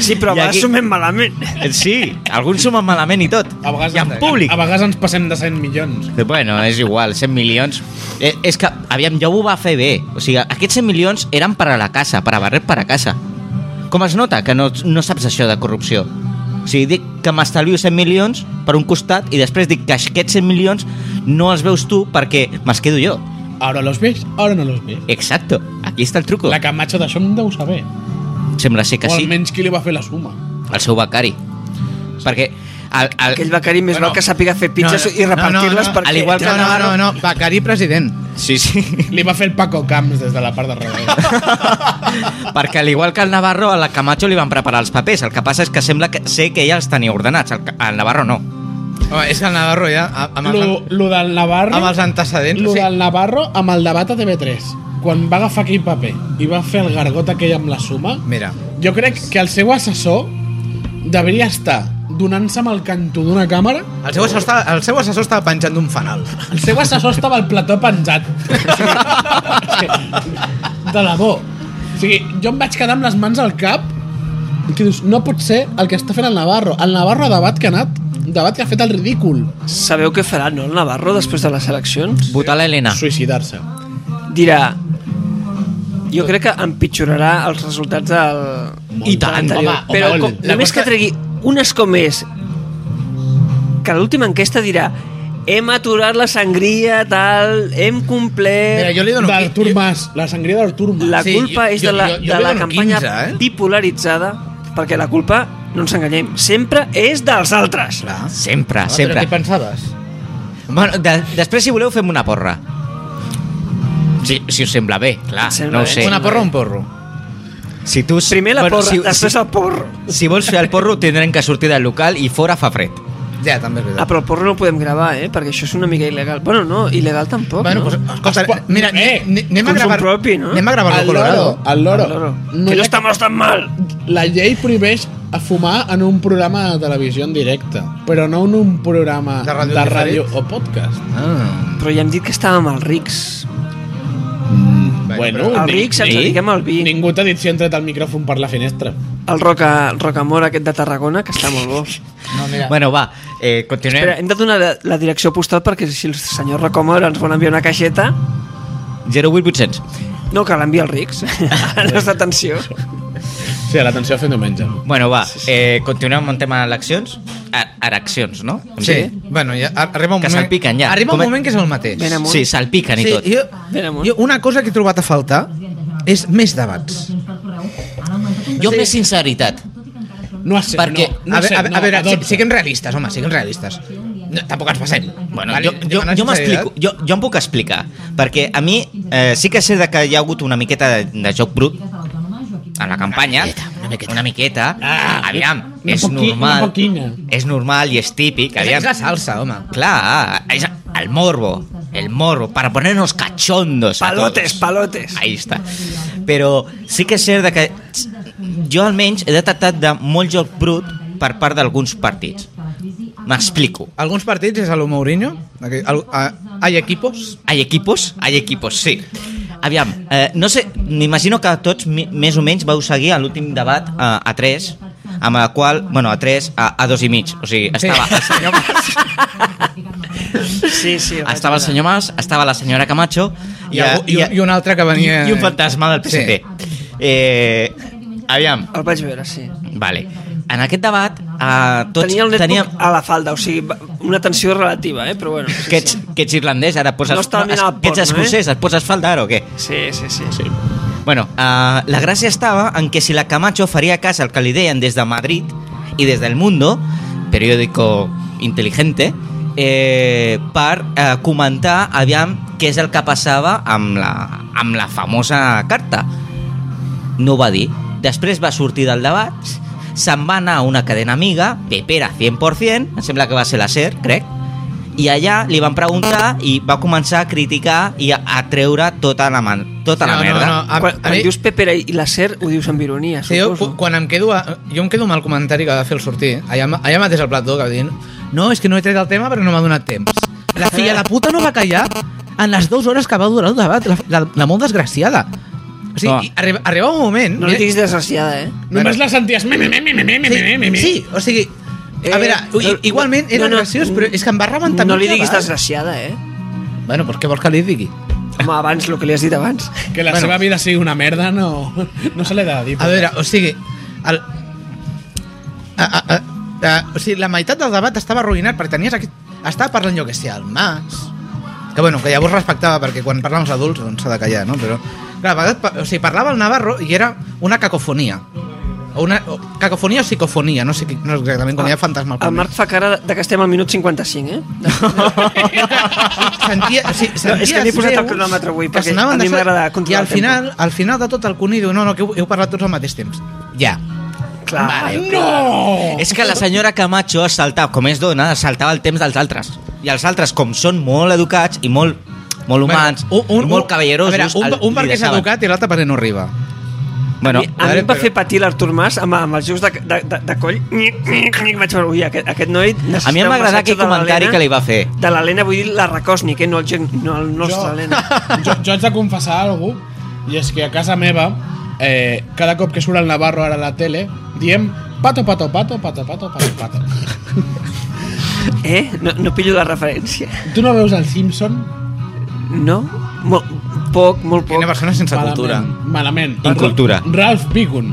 Sí, però I va aquí- sumem malament. Sí, alguns sumen malament i tot. A vegades, I en públic. A, vegades ens passem de 100 milions. Bueno, és igual, 100 milions. Eh, és que, aviam, ja ho va fer bé. O sigui, aquests 100 milions eren per a la casa, per a barret per a casa. Com es nota que no, no saps això de corrupció? O sigui, dic que m'estalvio 100 milions per un costat i després dic que aquests 100 milions no els veus tu perquè me'ls quedo jo. Ara los ves, ara no los ves. Exacto, aquí està el truco. La Camacho d'això en deu saber. Sembla ser que o sí, almenys qui li va fer la suma. el seu becari. Perquè el, el, *laughs* Aquell becari més bueno, Bueno, val que sàpiga fer pizzas no, no, no, i repartir-les no, no, perquè... al igual que- No, no, no, no, becari president. Sí, sí. Li va fer el Paco Camps des de la part de *laughs* darrere. Perquè al igual que el Navarro, a la Camacho li van preparar els papers. El que passa és que sembla que sé que ella els tenia ordenats. El, Ca- el Navarro no. Home, és que el Navarro ja, a- amb els, lo, lo del Navarro... amb els antecedents... Lo o sigui, del Navarro amb el debat a TV3. Quan va agafar aquell paper i va fer el gargot aquell amb la suma, Mira, jo crec que el seu assessor devia estar donant-se amb el cantó d'una càmera el seu, assessor, estava- el seu assessor estava penjant d'un fanal. El seu assessor estava al plató penjat. *laughs* O sigui, De debò. O sigui, jo em vaig quedar amb les mans al cap que dius, no pot ser el que està fent el Navarro. El Navarro a debat que ha anat, debat que ha fet el ridícul. Sabeu què farà, no, el Navarro, després de les eleccions? Votar Ah. l'Helena. Suïcidar-se. Dirà... Jo crec que empitjorarà els resultats del... Molt. I tant, Home, anterior. home, Però molt. com, La només cosa- que tregui unes com és que a l'última enquesta dirà hem aturat la sangria, tal, hem complert... Mira, jo li dono... D'Artur jo- Mas, la sangria d'Artur Mas. La Sí, culpa jo- és jo- de la, jo- de jo li la dono campanya 15, eh? bipolaritzada, perquè la culpa, no ens enganyem, sempre és dels altres. Clar. Sempre, Ah, sempre. Però què pensaves? Bueno, de, després, si voleu, fem una porra. Si, si us sembla bé, clar, Em sembla no ho bé. sé. Una porra o un porro? Si tu... Primer la bueno, porra, si, després el porro. Si, si vols fer el porro, tindrem que sortir del local i fora fa fred. Ja, també és veritat. Ah, però el porro no ho podem gravar, eh? Perquè això és una mica il·legal. Bueno, no, il·legal tampoc, Bueno, no? pues, escolta, Es pot- mira, Eh, eh, anem a consum gravar... propi, no? Anem a gravar el El Colorado. loro, el loro. El loro. No que hi no ha- estamos tan mal. La llei prohibeix a fumar en un programa de televisió en directe, però no en un programa De ràdio de diferent. ràdio o podcast. Ah, Però ja hem dit que estàvem als rics. Bueno, però- Ah, Als ni- rics ens sí? dediquem al vi. Ningú t'ha dit si ha entrat el micròfon per la finestra. El roca, el rocamor aquest de Tarragona, que està molt bo. No, mira. Bueno, va, eh, continuem. Espera, hem de donar la, la direcció postal perquè si el senyor rocamor ens vol enviar una caixeta, 08800. no, que l'envia als rics. *laughs* A la nostra atenció. Sí, a l'atenció fent diumenge. Bueno, va, eh, continuem amb el tema d'eleccions. A- Ereccions, no? Em Sí, dic? bueno, ja, ar- arriba un Que moment... salpiquen, ja. Arriba un Com- moment que és el mateix. Ven amunt. Sí, salpiquen i Sí, tot. jo, Ven amunt. jo, una cosa que he trobat a faltar és més debats. Jo més sinceritat. No sé, Perquè- no, no a, sé, veure, a, no, veure, a veure, dotze. si- siguem realistes, home, siguem realistes. No, tampoc ens passem. Bueno, Vale, jo, jo, demanar jo sinceritat. m'explico, jo, jo em puc explicar, perquè a mi eh, sí que sé de que hi ha hagut una miqueta de, de joc brut en la campanya, una miqueta, una miqueta. Ah, aviam, una és poqui- una normal, poquina. és normal i és típic, És, és aviam. la salsa, home. Clar, és el morbo, el morbo, para ponernos cachondos a todos. Palotes, palotes. Ahí està. Però sí que és cert de que jo almenys he detectat de molt joc brut per part d'alguns partits. M'explico. Alguns partits és a lo Mourinho. aquell- al- a- Hay equipos. Hay equipos, hay equipos, sí. Aviam, eh, no sé, m'imagino que tots mi- més o menys vau seguir a l'últim debat eh, a 3 amb la qual, bueno, a 3, a, a 2 i mig. O sigui, estava el senyor Mas, Sí, sí. ho vaig estava el veure. senyor Mas, estava la senyora Camacho I, algú- i, eh, i, un altre que venia... i, i un fantasma del PSC. Eh, aviam, El vaig veure, sí. vale. En aquest debat, eh, tots Tenia el netbook teníem... a la falda, o sigui, va- una tensió relativa, eh? Però bueno, sí, Que ets, que ets irlandès, ara et poses... No estava mirant el que ets porno, eh? escocès, et poses falda ara o què? sí. Sí, sí, sí. Sí. Bueno, uh, la gràcia estava en que si la Camacho faria cas al que li deien des de Madrid i des del Mundo, periòdico intel·ligente, eh, per eh, comentar aviam què és el que passava amb la, amb la famosa carta. No ho va dir. Després va sortir del debat, se'n va anar a una cadena amiga, Pepera 100%, em sembla que va ser la SER, crec, i allà li van preguntar i va començar a criticar i a, a treure tota la, man, tota la No, no, merda. no, A- quan, a quan mi- dius Pepera i la Ser, ho dius amb ironia, Sí, jo, suposo. cu- quan em quedo... A, jo em quedo amb el comentari que va fer el sortir. Allà, ma- allà mateix al plató que va dir no, és que no he tret el tema perquè no m'ha donat temps. La filla de puta no va callar en les dues hores que va durar el debat. La, la, la molt desgraciada. O sigui, Home. i arriba, arriba un moment... No li diguis desgraciada, eh? Només la senties... Me, me, me, me, me, me, me, me, me. Sí, o sigui... Eh, A veure, no, i- igualment era no, no, graciós, però és que em va rebentar No molt li el diguis debat. desgraciada, eh? Bueno, doncs què vols que li digui? Home, abans, el que li has dit abans. Que la Bueno. seva vida sigui una merda no, *laughs* no se l'ha de dir. A veure, o sigui... El... A, a, a, a, o sigui, la meitat del debat estava arruïnat perquè tenies aquest... Estava parlant jo que sé, el Mas... Que, bueno, que llavors respectava, perquè quan parlen els adults doncs s'ha de callar, no? Però, clar, a vegades, pa- o sigui, parlava el Navarro i era una cacofonia. O una, o, cacofonia o psicofonia, no sé qui- no exactament, quan hi ha fantasma al Ah, El Marc fa cara de que estem al minut 55, eh? *laughs* sentia, o sigui, sentia No, és que n'he les posat el veus cronòmetre avui, que perquè sonaven a mi de sota. m'agrada controlar I al el tempo. final, al final de tot el Cuni diu, no, no, que heu, heu parlat tots al mateix temps. Ja. Clar. No! És que la senyora Camacho es saltava, com és dona, es saltava el temps dels altres. I els altres, com són molt educats i molt, molt humans, bueno, un, un, molt cavallerosos... a veure, un, el- un li perquè és deixaven. educat i l'altre perquè no arriba. A Bueno, mi, a mi em va però- fer patir l'Artur Mas amb, amb els jocs de, de, de, de coll. Nyic, nyic, nyic. Vaig veure, ui, aquest, aquest noi necessita a mi em un va agradar massatge aquell de comentari l'Helena- que li va fer. De l'Helena, vull dir la Rakosnik, eh? no, el, gen- no el nostre Jo- Helena. *laughs* jo, jo haig de confessar alguna cosa, i és que a casa meva, eh, cada cop que surt el Navarro ara a la tele, diem pato, pato, pato, pato, pato, pato, pato. Eh? No, no pillo la referència. Tu no veus el Simpson? No? Mol, poc, molt Una poc. persona sense Malament, cultura. Malament. Incultura. Ralph Bigun.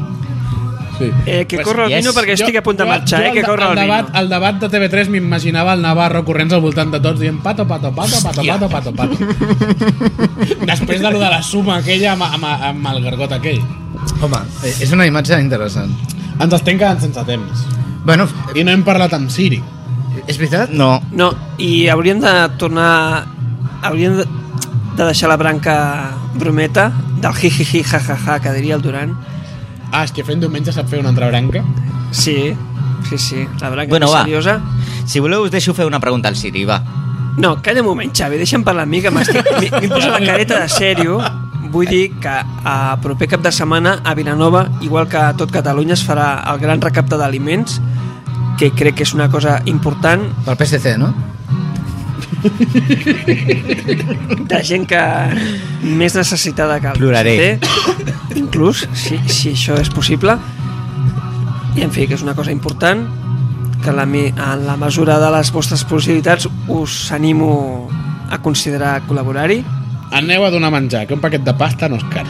Sí. Eh, que Pues, corre el yes. vino perquè estic a punt de marxar, eh? Que corre el, debat, vino. El debat de TV3 m'imaginava el Navarro corrents al voltant de tots dient pato, pato, pato, pato, Hòstia. pato, pato, *laughs* pato. Després de lo de la suma aquella amb, amb, amb el gargot aquell. Home, eh, és una imatge interessant. Ens estem quedant sense temps. Bueno, eh, I no hem parlat amb Siri. és veritat? No, No, i hauríem de tornar... Hauríem de, de deixar la branca brometa del hi hi hi ja ja ja que diria el Duran. Ah, és que fent diumenge sap fer una altra branca. Sí, sí, sí, la branca Bueno, més va. seriosa. si voleu us deixo fer una pregunta al Siri, va. No, calla un moment, Xavi, deixa'm parlar amb mi, que m'estic... m'hi- M'hi posa la careta de sèrio. Vull dir que a proper cap de setmana a Vilanova, igual que a tot Catalunya, es farà el gran recapte d'aliments, que crec que és una cosa important Pel PSC, no? de gent que més necessitada que el Ploraré. PSC, inclús, si, si això és possible. I en fi, que és una cosa important, que la, mi- en la mesura de les vostres possibilitats us animo a considerar col·laborar-hi. Aneu a donar menjar, que un paquet de pasta no és car.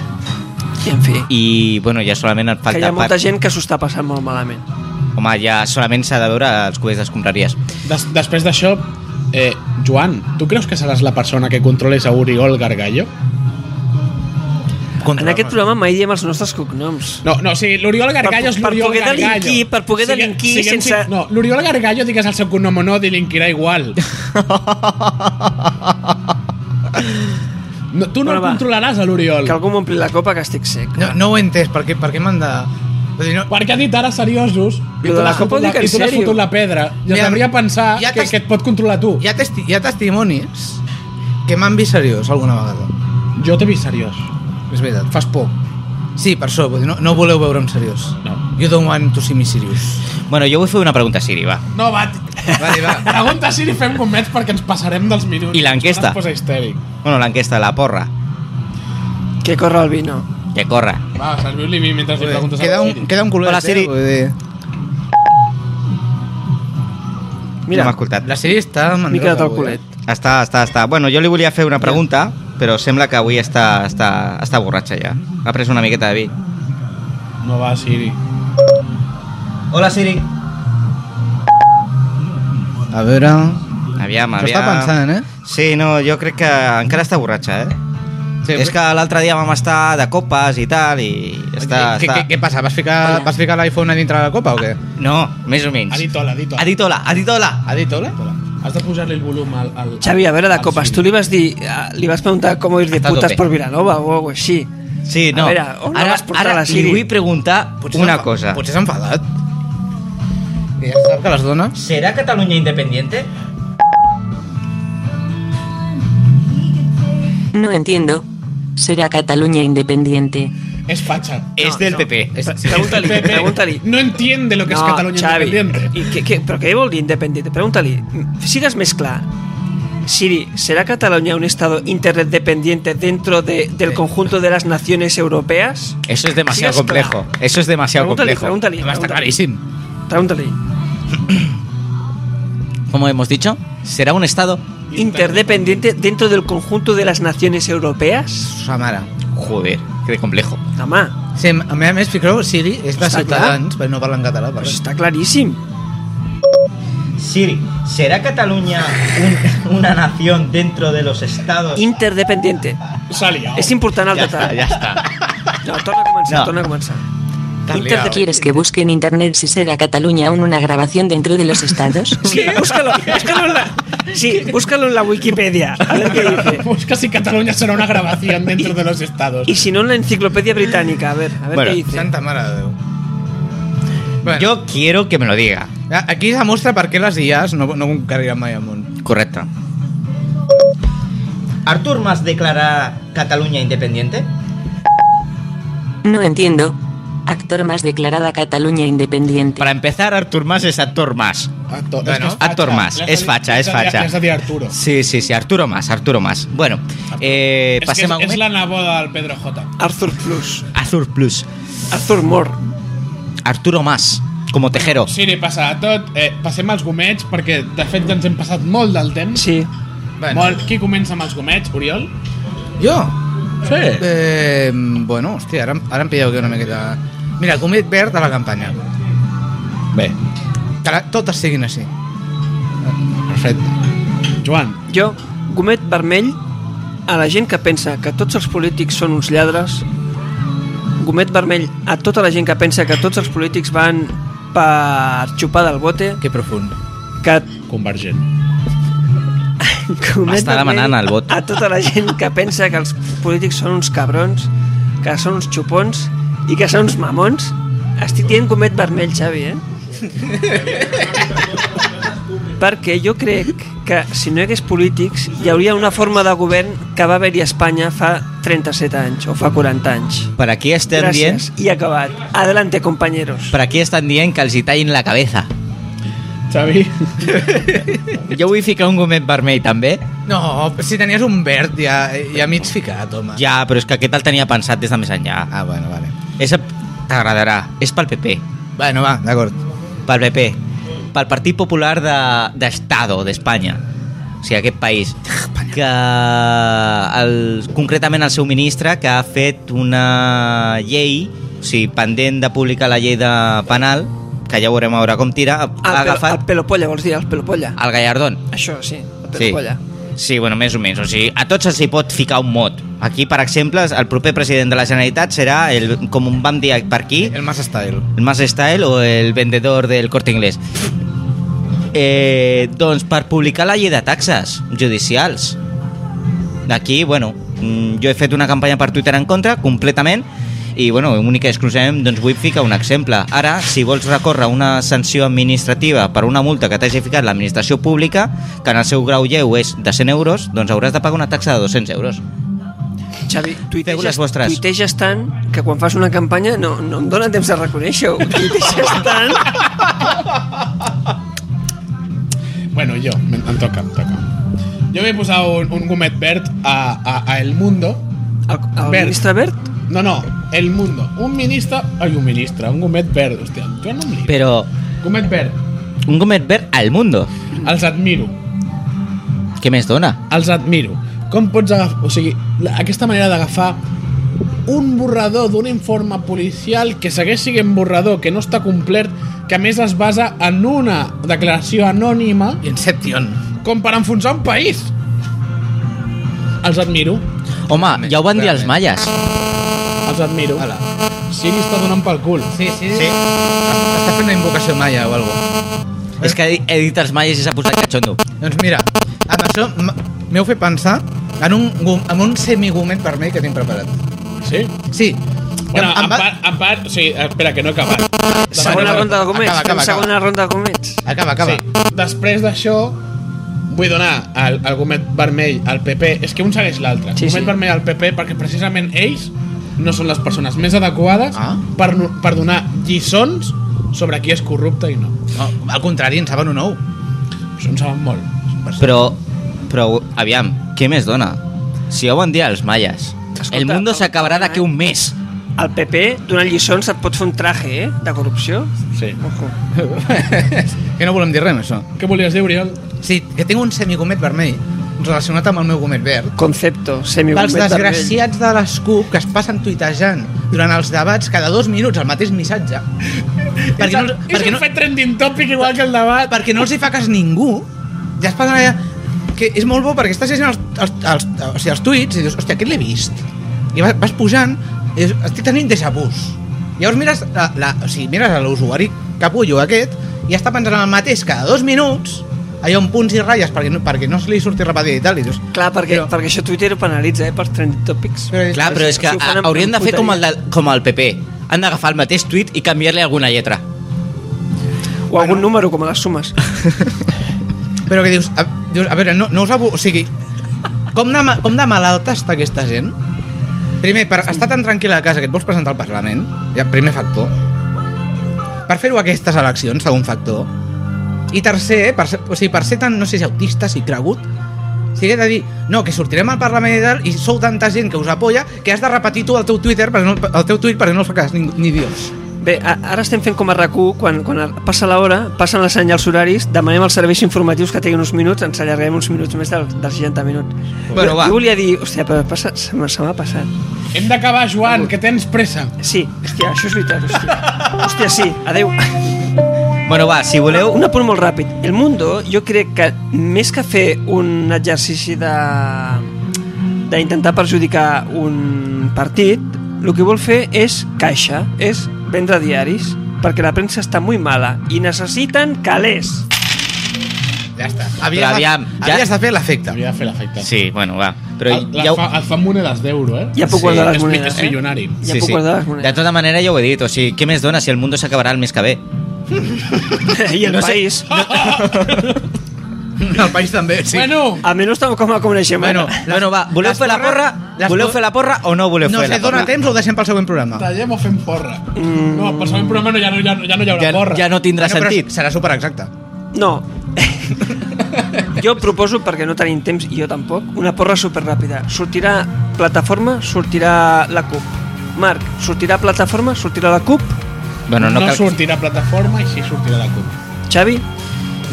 I en fi, I, bueno, ja solament et que hi falta... ha molta gent que s'ho està passant molt malament. Home, ja solament s'ha de veure els cubells d'escombraries. Des, després d'això, eh, Joan, tu creus que seràs la persona que controles a Oriol Gargallo? En aquest programa mai diem els nostres cognoms. No, no, o sigui, l'Oriol Gargallo Per- és per l'Oriol poder Gargallo. delinquir, per poder Sigue- delinquir siguem sense- sin- No, l'Oriol Gargallo, digues el seu cognom o no, delinquirà *laughs* igual. No, tu no Bueno, el va. controlaràs, a l'Oriol. Que algú m'ompli la copa que estic sec. No, no ho he entès, perquè, perquè m'han de... Vull dir, no, Perquè ha dit ara seriosos i tu Lo de la l'has copa fotut, ho dic la, en i tu l'has sèrio. fotut la pedra. I es Mira, devria pensar ja que, t'has- que et pot controlar tu. hi, ha testi hi ha testimonis que m'han vist seriós alguna vegada. Jo t'he vist seriós. És veritat, fas por. Sí, per això, vull dir, no, no voleu veure'm seriós. No. You don't want to see me serious. Bueno, jo vull fer una pregunta a Siri, va. No, va, Vale, va. *laughs* pregunta si li fem gomets perquè ens passarem dels minuts. I l'enquesta? Ens posa histèric. Bueno, l'enquesta, la porra, Que corre el vino. que corre. Va, serviu-li mi mentre li preguntes a Queda la un, Siri. queda un culet, Hola, Siri. Eh? vull dir. Mira, no m'ha escoltat. La sèrie està... M'he quedat al avui, eh? culet. Està, està, està. Bueno, jo li volia fer una pregunta, però sembla que avui està, està, està borratxa ja. Ha pres una miqueta de vi. No va, Siri. Hola, Siri. A veure... ah. Aviam, S'ho aviam. està pensant, eh? Sí, no, jo crec que encara està borratxa, eh? Sí, pues, és que l'altre dia vam estar de copes i tal, i està... què, està... Què, què passa? Vas ficar, vas ficar l'iPhone a dintre de la copa o què? No, més o menys. Aditola, aditola. Aditola, Aditola! Ha dit hola? Has de posar-li el volum al... al Xavi, a veure, de al copes, Siri. tu li vas dir... ah, Li vas preguntar com ir de Està a putes tope. per Vilanova o alguna així. Sí, no. A veure, on la ara, vas portar, ara la Siri? li vull preguntar Pues una s'enfa- cosa. Potser s'ha enfadat. I ja sap que les dones... ¿Será Cataluña independiente? No entiendo. Será Cataluña independiente. Es facha. *laughs* es del PP. Pre- Pregunta-li, El PP pregunta-li. No entiende lo que es Cataluña *laughs* independiente. I què, què, però què vol dir independent? Pregunta-li. Sigues més clar. Siri, ¿será Cataluña un estado interdependiente dentro de- del conjunto de las naciones europeas? Eso es demasiado Sí, es claro. complejo. Eso es demasiado Pregúntale, complejo. pregúntale, Además, está pregúntale. clarísimo. Pregúntale. Como hemos dicho, será un estado. ¿Interdependiente dentro del conjunto de las naciones europeas? Sa mare. Joder, qué complejo. Home, Sí, a mi a més, fiqueu, Siri és de Està clar. Ciutadans, però no parlen català. Per pues está clarísimo. Siri, ¿será Cataluña un- una nación dentro de los estados? Interdependiente. Salía. Es importante el Ya está, total. ya *laughs* está. No, torna a comenzar, No. torna a comenzar. ¿Qué quieres que busque en internet si será Cataluña aún una grabación dentro de los estados? *laughs* Sí, búscalo, búscalo en la, sí, búscalo en la Wikipedia. A ver qué dice. *laughs* Busca si Cataluña será una grabación dentro de los estados. Y si no, en la enciclopedia británica, a ver, a ver Bueno, qué dice. Santa mare de Déu. Bueno, Yo quiero que me lo diga. a- aquí demostra per què les IAs no, no conqueriran mai el món. Correcto. ¿Artur Mas declara Cataluña independiente? No entiendo. Actor más declarada Cataluña independiente. Para empezar, Artur Mas es actor más. Actor, Bueno, es que es actor facha. más, Le has es de- facha, le es has de- facha. le has de dir Arturo. Sí, sí, sí, Arturo Más, Arturo Más. Bueno, eh, Es que pasemos es, es a la navoda al Pedro J. Arthur Plus, Arthur Plus. Arthur Moore. Arturo Más, como tejero. Siri, passa a tot. Eh, passem als gomets, perquè de fet ja ens hem passat molt del temps. Sí. Bueno, Molt. Qui comença amb els gomets, Oriol? jo? Sí. Eh, bueno, hòstia, ara, ara em pilleu aquí una miqueta... Mira, comet verd a la campanya. Bé. Que la, totes siguin així. Perfecte. Joan, Jo, gomet vermell, a la gent que pensa que tots els polítics són uns lladres, gomet vermell a tota la gent que pensa que tots els polítics van per xupar del bote, Que profund. que convergent. Comet M'està demanant vermell el vot. A tota la gent que pensa que els polítics són uns cabrons, que són uns xupons i que són uns mamons, estic dient comet vermell, Xavi, eh? Perquè jo crec que si no hi hagués polítics hi hauria una forma de govern que va haver-hi a Espanya fa 37 anys o fa 40 anys. Para aquí este están bien. Gràcies i acabat. Adelante, compañeros. Para aquí están bien calcitai en la cabeza. Xavi, Yo voy a ficar un gomet vermell també. No, si tenies un verd ja, ja mig ficat, home. Ja, però és que aquest el tenia pensat des de més enllà. Ah, bueno, vale. És a- T'agradarà. És pel PP. Bueno, va, d'acord. Pel PP. Pel Partit Popular de- d'Estado d'Espanya. O sigui, aquest *laughs* país. Que el, concretament el seu ministre que ha fet una llei, o sigui, pendent de publicar la llei de penal, que ja veurem a veure com tira, ha, Ah, ha El, pelo, el agafat pelopolla, vols dir, el pelopolla. el Gallardón. Això, sí, el Sí. pelopolla. Sí, bueno, més o menys. O sigui, a tots els hi pot ficar un mot. Aquí, per exemple, el proper president de la Generalitat serà, el, com vam dir per aquí, El más style. el Mas Style o el vendedor del Corte Inglés. Eh, doncs per publicar la llei de taxes judicials. D'aquí, bueno, mm, jo he fet una campanya per Twitter en contra, completament, i, bueno, única i exclusivament, doncs vull ficar un exemple. Ara, si vols recórrer una sanció administrativa per una multa que t'hagi ficat l'administració pública, que en el seu grau lleu és de 100 euros, doncs hauràs de pagar una taxa de 200 euros. Xavi, tuiteges, Feu les vostres. tuiteges tant que quan fas una campanya no, no em dóna temps de reconèixer-ho. Tuiteges tant... Bueno, jo, em, em toca, em toca. Jo vaig posar un, un gomet verd a, a, a El Mundo. El, el Bert. ministre Bert? No, no, El Mundo. Un ministre... Ai, un ministre, un gomet verd. Hòstia, Joan no em lio. Però Gomet verd. un gomet verd al mundo. Els admiro. Què més dona? Els admiro. Com pots agafar... O sigui, la- aquesta manera d'agafar un borrador d'un informe policial que segueix siguent borrador, que no està complert, que a més es basa en una declaració anònima Inception. com per enfonsar un país. Els admiro. Home, ja ho van dir els malles. Els admiro. Hola. Sí, li està donant pel cul. Sí, sí. Sí. sí. Està fent una invocació maia o alguna cosa. És que he he dit els malles i s'ha posat catxondo. Doncs mira, amb això m- m'heu fet pensar en un, gom- en un semigomet vermell que tinc preparat. Sí. Sí. Bueno, Em- em en va- part, en part... Sí, espera, que no he acabat. Segona Acaba, ronda de comets. acaba, Fem acaba, segona ronda de comets. Acaba, acaba. Sí. Sí. Després d'això, vull donar el, el gomet vermell al PP. És que un segueix l'altre. Sí, Sí, gomet sí. sí. vermell al PP perquè precisament ells no són les persones més adequades Ah. ah. per, no- per donar lliçons sobre qui és corrupte i no. No, al contrari, en saben *laughs* un ou. Això en saben molt. Però, però, aviam, què més dona? Si ho van dir els malles. Escolta, El mundo s'acabarà d'aquí un mes. El PP, donant lliçons, et pot fer un traje, eh? De corrupció. Sí. Ojo. que no volem dir res amb això. Què volies dir, Oriol? Sí, que tinc un semigomet vermell relacionat amb el meu gomet verd. Concepto, Pels semi-gomet desgraciats de les CUP que es passen tuitejant durant els debats cada dos minuts el mateix *laughs* missatge. perquè, no, els- és perquè, un no, fet trending topic igual que el debat. perquè no els hi fa cas ningú. Ja es passen allà... Que és molt bo perquè estàs llegint els, els, els, o sigui, els tuits i dius, hòstia, aquest l'he vist. I vas, vas pujant i dius, estic tenint déjà vus. Llavors mires la, la, o sigui, mires a l'usuari capullo aquest i està pensant en el mateix cada dos minuts allò amb punts i ratlles perquè no, perquè no se li surti repetit i tal i dius, Clar, perquè, Però- perquè això Twitter ho penalitza, eh, per trending topics. Clar, però és que Si ho fan a- amb- haurien de amb fer com el, puteria. de, com el PP. Han d'agafar el mateix tuit i canviar-li alguna lletra. O algun número, com a les sumes. Però que dius, a, dius, a veure, no, no us abu... O sigui, com de, ma- com de malalta està aquesta gent? Primer, per estar tan tranquil·la a casa que et vols presentar al Parlament, ja, primer factor. Per fer-ho a aquestes eleccions, segon factor. I tercer, per ser, o sigui, per ser tan, no sé si autistes i cregut, o sigui, he de dir, no, que sortirem al Parlament i tal, i sou tanta gent que us apoya que has de repetir tu el teu Twitter, perquè no, el teu tuit perquè no el fa cas ni, ni Dios. Bé, a, ara estem fent com a rac quan, quan passa l'hora, passen les senyals horaris, demanem als serveis informatius que tinguin uns minuts, ens allarguem uns minuts més del, dels 60 minuts. Bueno, jo, va. jo volia dir, hòstia, però passa, se m'ha se m'ha passat. Hem d'acabar, Joan, que tens pressa. Sí, hòstia, això és veritat, *laughs* hòstia. Hòstia, sí, adeu. Bueno, va, si voleu... Un apunt molt ràpid. El Mundo, jo crec que més que fer un exercici de d'intentar perjudicar un partit, el que vol fer és caixa, és vendre diaris, perquè la premsa està molt mala i necessiten calés. Ja està. Havies, Però de- aviam, ja- havies de fer l'efecte. Havia de fer l'efecte. Sí, bueno, va. Però Però ja, ho- Ah, fa, et fan monedes d'euro, eh? Ja puc Sí, guardar les és, mi- monedes, és eh? milionari. Ja puc guardar les monedes. De tota manera, ja ho he dit. O sigui, què més dona si el mundo s'acabarà el mes que ve? I el No no sé- país. *laughs* El país també, sí. Bueno, Almenys tal com la coneixem. Bueno, ara. Les- bueno, va, voleu les fer la porra? porra- les Voleu por- fer la porra o no voleu No fer sé, la porra? dona temps o ho deixem pel següent programa? tallem o fem porra. Mm. No, per següent programa no, ja, no, ja, no, ja no hi haurà Ja, porra. ja no tindrà Bueno, però sentit. Serà super exacte. No. *laughs* jo proposo, perquè no tenim temps, i jo tampoc, una porra superràpida. Sortirà plataforma, sortirà la CUP. Marc, sortirà plataforma, sortirà la CUP. Bueno, no, no, no cal... sortirà plataforma i sí sortirà la CUP. Xavi,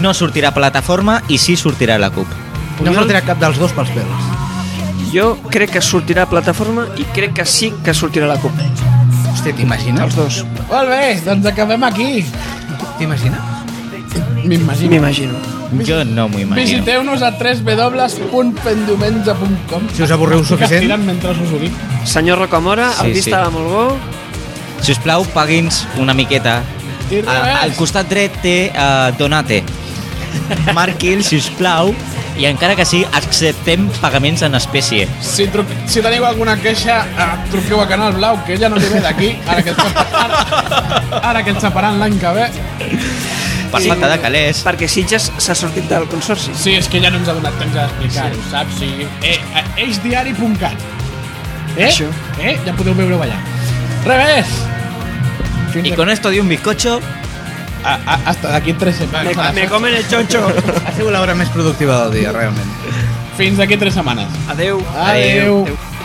no sortirà plataforma i sí sortirà la CUP. No sortirà cap dels dos pels pèls. jo crec que sortirà plataforma i crec que sí que sortirà la CUP. Hòstia, t'imagines? Els dos, Molt bé, doncs acabem aquí. T'imagines? M'imagino. m'imagino. Jo no m'ho imagino. Visiteu-nos a www.pendiumenge.com Si us avorreu suficient. Castiga't mentre us ho dic. Senyor Rocamora, Sí, el vi sí. estava molt bo. Si us plau, pagui'ns una miqueta. I A, res. al costat dret té uh, Donate. Marqui'l, si us plau, i encara que sí, acceptem pagaments en espècie. Si, truc, si teniu alguna queixa, eh, truqueu a Canal Blau, que ella no li ve d'aquí, ara que ens separen, *laughs* ara que ens separen l'any que ve. Per Sí. falta de calés. Perquè Sitges s'ha sortit del consorci. Sí, és que ja no ens ha donat temps d'explicar-ho, sí. saps? Sí. Eh, a eixdiari.cat Eh? Això. Eh? Ja podeu veure-ho allà. Revés! Fins I a- con esto de un bizcocho, a- a- hasta d'aquí tres setmanes. Me, me comen el xonxo. *laughs* Ha sigut l'hora més productiva del dia, realment. Fins d'aquí tres setmanes. Adeu. Adeu. Adeu.